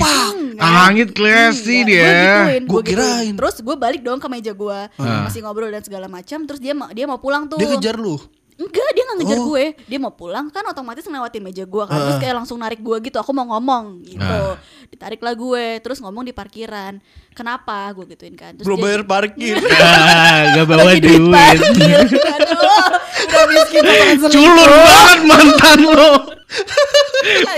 Speaker 1: Anggit classy
Speaker 2: Iya.
Speaker 1: dia.
Speaker 2: Gua
Speaker 4: Gue gituin.
Speaker 2: kirain.
Speaker 4: Terus gue balik dong ke meja gue,
Speaker 1: Ah.
Speaker 4: masih ngobrol dan segala macam. Terus dia mau dia mau pulang tuh.
Speaker 2: Dia kejar lu.
Speaker 4: Enggak, dia nggak ngejar
Speaker 2: Oh. Ah.
Speaker 4: gue. Dia mau pulang kan otomatis ngelewatin meja gue kan. Terus kayak langsung narik gue gitu. Aku mau ngomong gitu.
Speaker 1: Ah.
Speaker 4: Ditariklah gue. Terus ngomong di parkiran. Kenapa gue gituin kan? Terus
Speaker 2: Belum
Speaker 4: dia- Iya.
Speaker 2: bayar parkir.
Speaker 1: Ah, Gak bawa
Speaker 4: Bagi duit
Speaker 1: duit.
Speaker 4: parkir. Aduh, udah miskin banget.
Speaker 1: Culun banget mantan lo.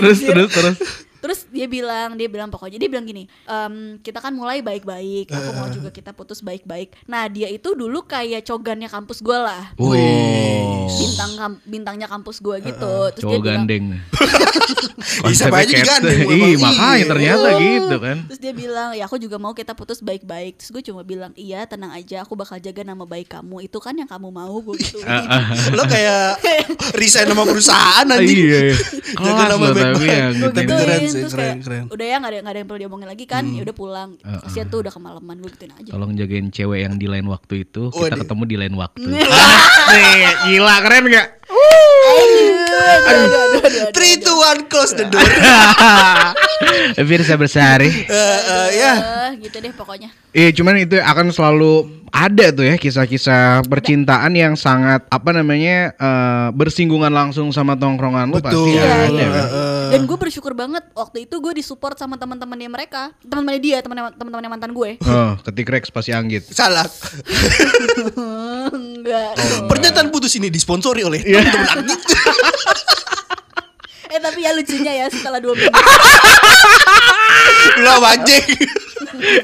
Speaker 1: terus
Speaker 4: Anjir.
Speaker 1: terus terus.
Speaker 4: Terus dia bilang, dia bilang pokoknya dia bilang gini, "Em, kita kan mulai baik-baik. Aku
Speaker 2: Eh.
Speaker 4: mau juga kita putus baik-baik. Nah dia itu dulu kayak cogannya kampus gue lah.
Speaker 1: Wow.
Speaker 2: Oh.
Speaker 4: Bintang kam- bintangnya kampus gue
Speaker 2: Eh,
Speaker 4: gitu. Terus
Speaker 1: Cowok
Speaker 4: dia bilang,
Speaker 1: gandeng.
Speaker 2: Ih, siapa
Speaker 1: Konsepnya
Speaker 2: aja digandeng,
Speaker 1: cat-
Speaker 2: emang.
Speaker 1: Ih, makanya
Speaker 2: Iya.
Speaker 1: ternyata
Speaker 4: Oh.
Speaker 1: gitu kan.
Speaker 4: "Uh." Terus dia bilang, ya aku juga mau kita putus baik-baik. Terus gue cuma bilang, iya tenang aja, aku bakal jaga nama baik kamu. Itu kan yang kamu mau gue gitu.
Speaker 2: Ah, lo kayak resign sama perusahaan anjing.
Speaker 1: Iya.
Speaker 2: Jaga
Speaker 1: Kelas
Speaker 2: nama
Speaker 1: lo
Speaker 2: baik-baik.
Speaker 1: tapi ya
Speaker 4: Gue
Speaker 1: gitu.
Speaker 2: Tapi
Speaker 4: gituin,
Speaker 2: keren sih,
Speaker 4: terus
Speaker 2: keren,
Speaker 4: kayak,
Speaker 2: keren. Hmm. Ah,
Speaker 4: udah ya nggak ada nggak ada yang perlu diomongin lagi kan, ya udah pulang. Kasian tuh udah kemalaman gue gituin aja.
Speaker 1: Tolong jagain cewek yang di lain waktu itu. Kita
Speaker 2: Waduh.
Speaker 1: ketemu di lain waktu. Asik, Ah, gila keren gak?
Speaker 2: Three to one close the door.
Speaker 1: Virsa bersari.
Speaker 2: Eh, eh, ya.
Speaker 4: Eh, gitu deh pokoknya.
Speaker 1: Iya, cuman itu akan selalu ada tuh ya kisah-kisah percintaan yang sangat apa namanya eh, bersinggungan langsung sama tongkrongan lu pasti ada.
Speaker 2: Betul. Iya,
Speaker 1: kan?
Speaker 2: iya.
Speaker 4: Dan gue bersyukur banget waktu itu gue disupport sama teman-temannya mereka, teman-temannya dia, teman-teman- teman-temannya mantan gue.
Speaker 1: Oh, ketik Rex pasti anggit.
Speaker 2: Salah.
Speaker 4: Enggak.
Speaker 1: Oh.
Speaker 2: Pernyataan putus ini disponsori oleh
Speaker 1: Iya.
Speaker 2: teman-teman Anggit.
Speaker 4: Eh tapi ya lucunya ya setelah dua minggu,
Speaker 2: Lo anjing.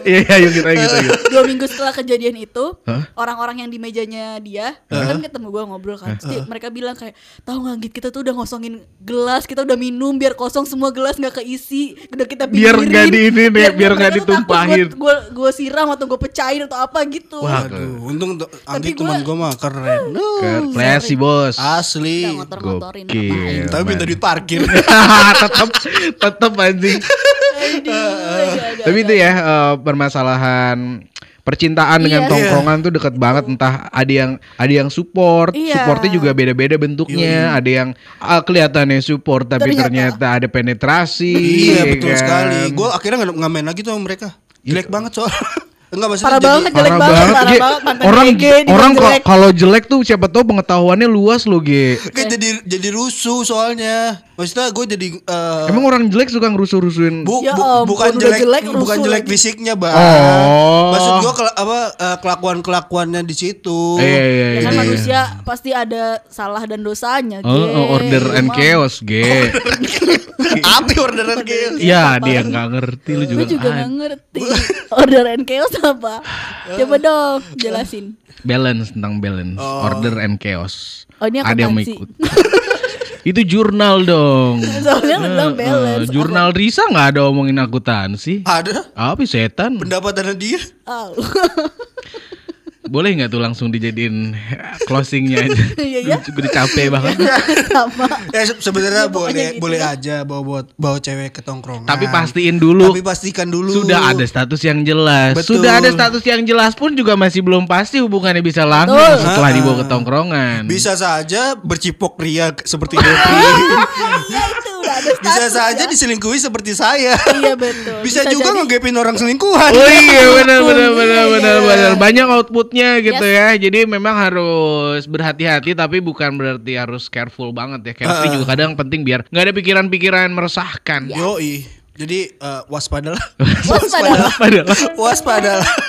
Speaker 1: Iya, iya, yuk kita gitu. gitu.
Speaker 4: dua minggu setelah kejadian itu,
Speaker 1: Hah?
Speaker 4: orang-orang yang di mejanya dia kan ketemu gue ngobrol kan, Terus dia- mereka bilang kayak, tahu nggak Git, kita tuh udah ngosongin gelas, kita udah minum biar kosong semua gelas nggak keisi, udah kita
Speaker 1: Biar
Speaker 4: pinggirin.
Speaker 1: nggak di ini nih, biar
Speaker 4: mereka
Speaker 1: nggak
Speaker 4: tuh takut
Speaker 1: ditumpahin."
Speaker 4: Gue gue siram atau gue pecahin atau apa gitu.
Speaker 1: Wah,
Speaker 2: Aduh, untung to-
Speaker 4: Tapi
Speaker 2: Anggit teman
Speaker 4: gua-
Speaker 2: gue mah keren.
Speaker 5: Uh,
Speaker 1: ke flashy bos.
Speaker 5: Ah,
Speaker 4: Udah
Speaker 2: Asli.
Speaker 4: ngotor-ngotorin.
Speaker 1: Gokil.
Speaker 2: Tapi minta duit parkir.
Speaker 1: Iya, tetap tetap anjing.
Speaker 4: Aduh, aduh, aduh,
Speaker 1: Tapi itu ya eh, permasalahan percintaan dengan
Speaker 4: Iya.
Speaker 1: tongkrongan tuh deket banget
Speaker 5: Iya.
Speaker 1: entah ada yang ada yang support,
Speaker 4: Iya.
Speaker 1: supportnya juga beda-beda bentuknya. Ada yang ah, kelihatannya support tapi ternyata,
Speaker 5: Ternyata.
Speaker 1: ada penetrasi.
Speaker 2: Iya
Speaker 1: ya kan?
Speaker 2: betul
Speaker 1: Iya.
Speaker 2: sekali. Gue akhirnya nggak nggak main lagi tuh sama mereka. Jelek banget soal. Enggak maksudnya
Speaker 5: Parah
Speaker 2: jadi-
Speaker 5: banget, jelek
Speaker 1: Parah
Speaker 5: banget,
Speaker 1: banget,
Speaker 5: parah
Speaker 1: Ge.
Speaker 5: banget, mantan
Speaker 1: orang
Speaker 5: GG dibilang
Speaker 1: orang kok-
Speaker 5: jelek.
Speaker 1: kalau jelek tuh siapa tahu pengetahuannya luas loh, Ge.
Speaker 2: Kayak jadi jadi rusuh soalnya. Maksudnya gue jadi eh,
Speaker 1: Emang orang jelek suka ngerusuh-rusuhin.
Speaker 2: Bu,
Speaker 5: Ya
Speaker 2: bu-
Speaker 5: ampun,
Speaker 2: bukan
Speaker 5: udah
Speaker 2: jelek,
Speaker 5: jelek,
Speaker 2: bukan
Speaker 5: rusuh
Speaker 2: jelek
Speaker 5: lagi.
Speaker 2: fisiknya, Bang.
Speaker 1: Oh.
Speaker 2: Maksud gua kela- apa eh, kelakuan-kelakuannya di situ.
Speaker 1: Iya, iya,
Speaker 4: Ya
Speaker 1: iya.
Speaker 4: kan
Speaker 1: iya.
Speaker 4: manusia pasti ada salah dan dosanya.
Speaker 1: Oh,
Speaker 4: Ge.
Speaker 1: oh, order and
Speaker 4: Emang.
Speaker 1: chaos, Ge.
Speaker 2: Apa orderan Gil?
Speaker 1: Ya, dia nggak ngerti lu juga.
Speaker 4: Gue juga
Speaker 1: ah,
Speaker 4: gak ngerti order and chaos apa. Coba dong jelasin.
Speaker 1: balance tentang balance order and chaos
Speaker 4: Oh, ini
Speaker 1: ada yang mau
Speaker 4: akuntansi.
Speaker 1: ikut itu jurnal dong
Speaker 4: Soalnya lu bilang
Speaker 1: Eh, eh,
Speaker 4: balance.
Speaker 1: jurnal Risa nggak ada omongin akuntansi
Speaker 2: Ada
Speaker 1: apa sih, setan
Speaker 2: pendapatan dia.
Speaker 4: Oh.
Speaker 1: boleh nggak tuh langsung dijadiin closingnya aja
Speaker 4: Iya, iya.
Speaker 1: gue udah capek banget
Speaker 4: Sama.
Speaker 2: Ya se- sebenarnya
Speaker 4: Ya, pokoknya
Speaker 2: boleh
Speaker 4: gitu
Speaker 2: boleh
Speaker 4: lah.
Speaker 2: aja bawa bawa, bawa cewek ke tongkrongan.
Speaker 1: tapi pastiin dulu
Speaker 2: Tapi pastikan dulu.
Speaker 1: sudah ada status yang jelas
Speaker 2: Betul.
Speaker 1: sudah ada status yang jelas pun juga masih belum pasti hubungannya bisa langsung setelah dibawa ke tongkrongan
Speaker 2: Bisa saja bercipok ria seperti Devi.
Speaker 4: Ya itu udah
Speaker 5: ada
Speaker 2: Bisa
Speaker 5: status
Speaker 2: saja
Speaker 5: ya.
Speaker 2: diselingkuhi seperti saya.
Speaker 5: Iya betul.
Speaker 2: Bisa, juga
Speaker 5: jadi-
Speaker 2: ngegepin orang selingkuhan.
Speaker 1: Oh iya benar benar
Speaker 5: Iya,
Speaker 1: benar
Speaker 5: iya,
Speaker 1: benar
Speaker 5: iya.
Speaker 1: benar banyak outputnya gitu ya. Jadi memang harus berhati-hati tapi bukan berarti harus careful banget ya. Careful
Speaker 2: Ah.
Speaker 1: juga kadang penting biar nggak ada pikiran-pikiran meresahkan.
Speaker 2: Yoi. Jadi eh, waspadalah.
Speaker 4: Waspada.
Speaker 1: Padahal
Speaker 2: waspadalah.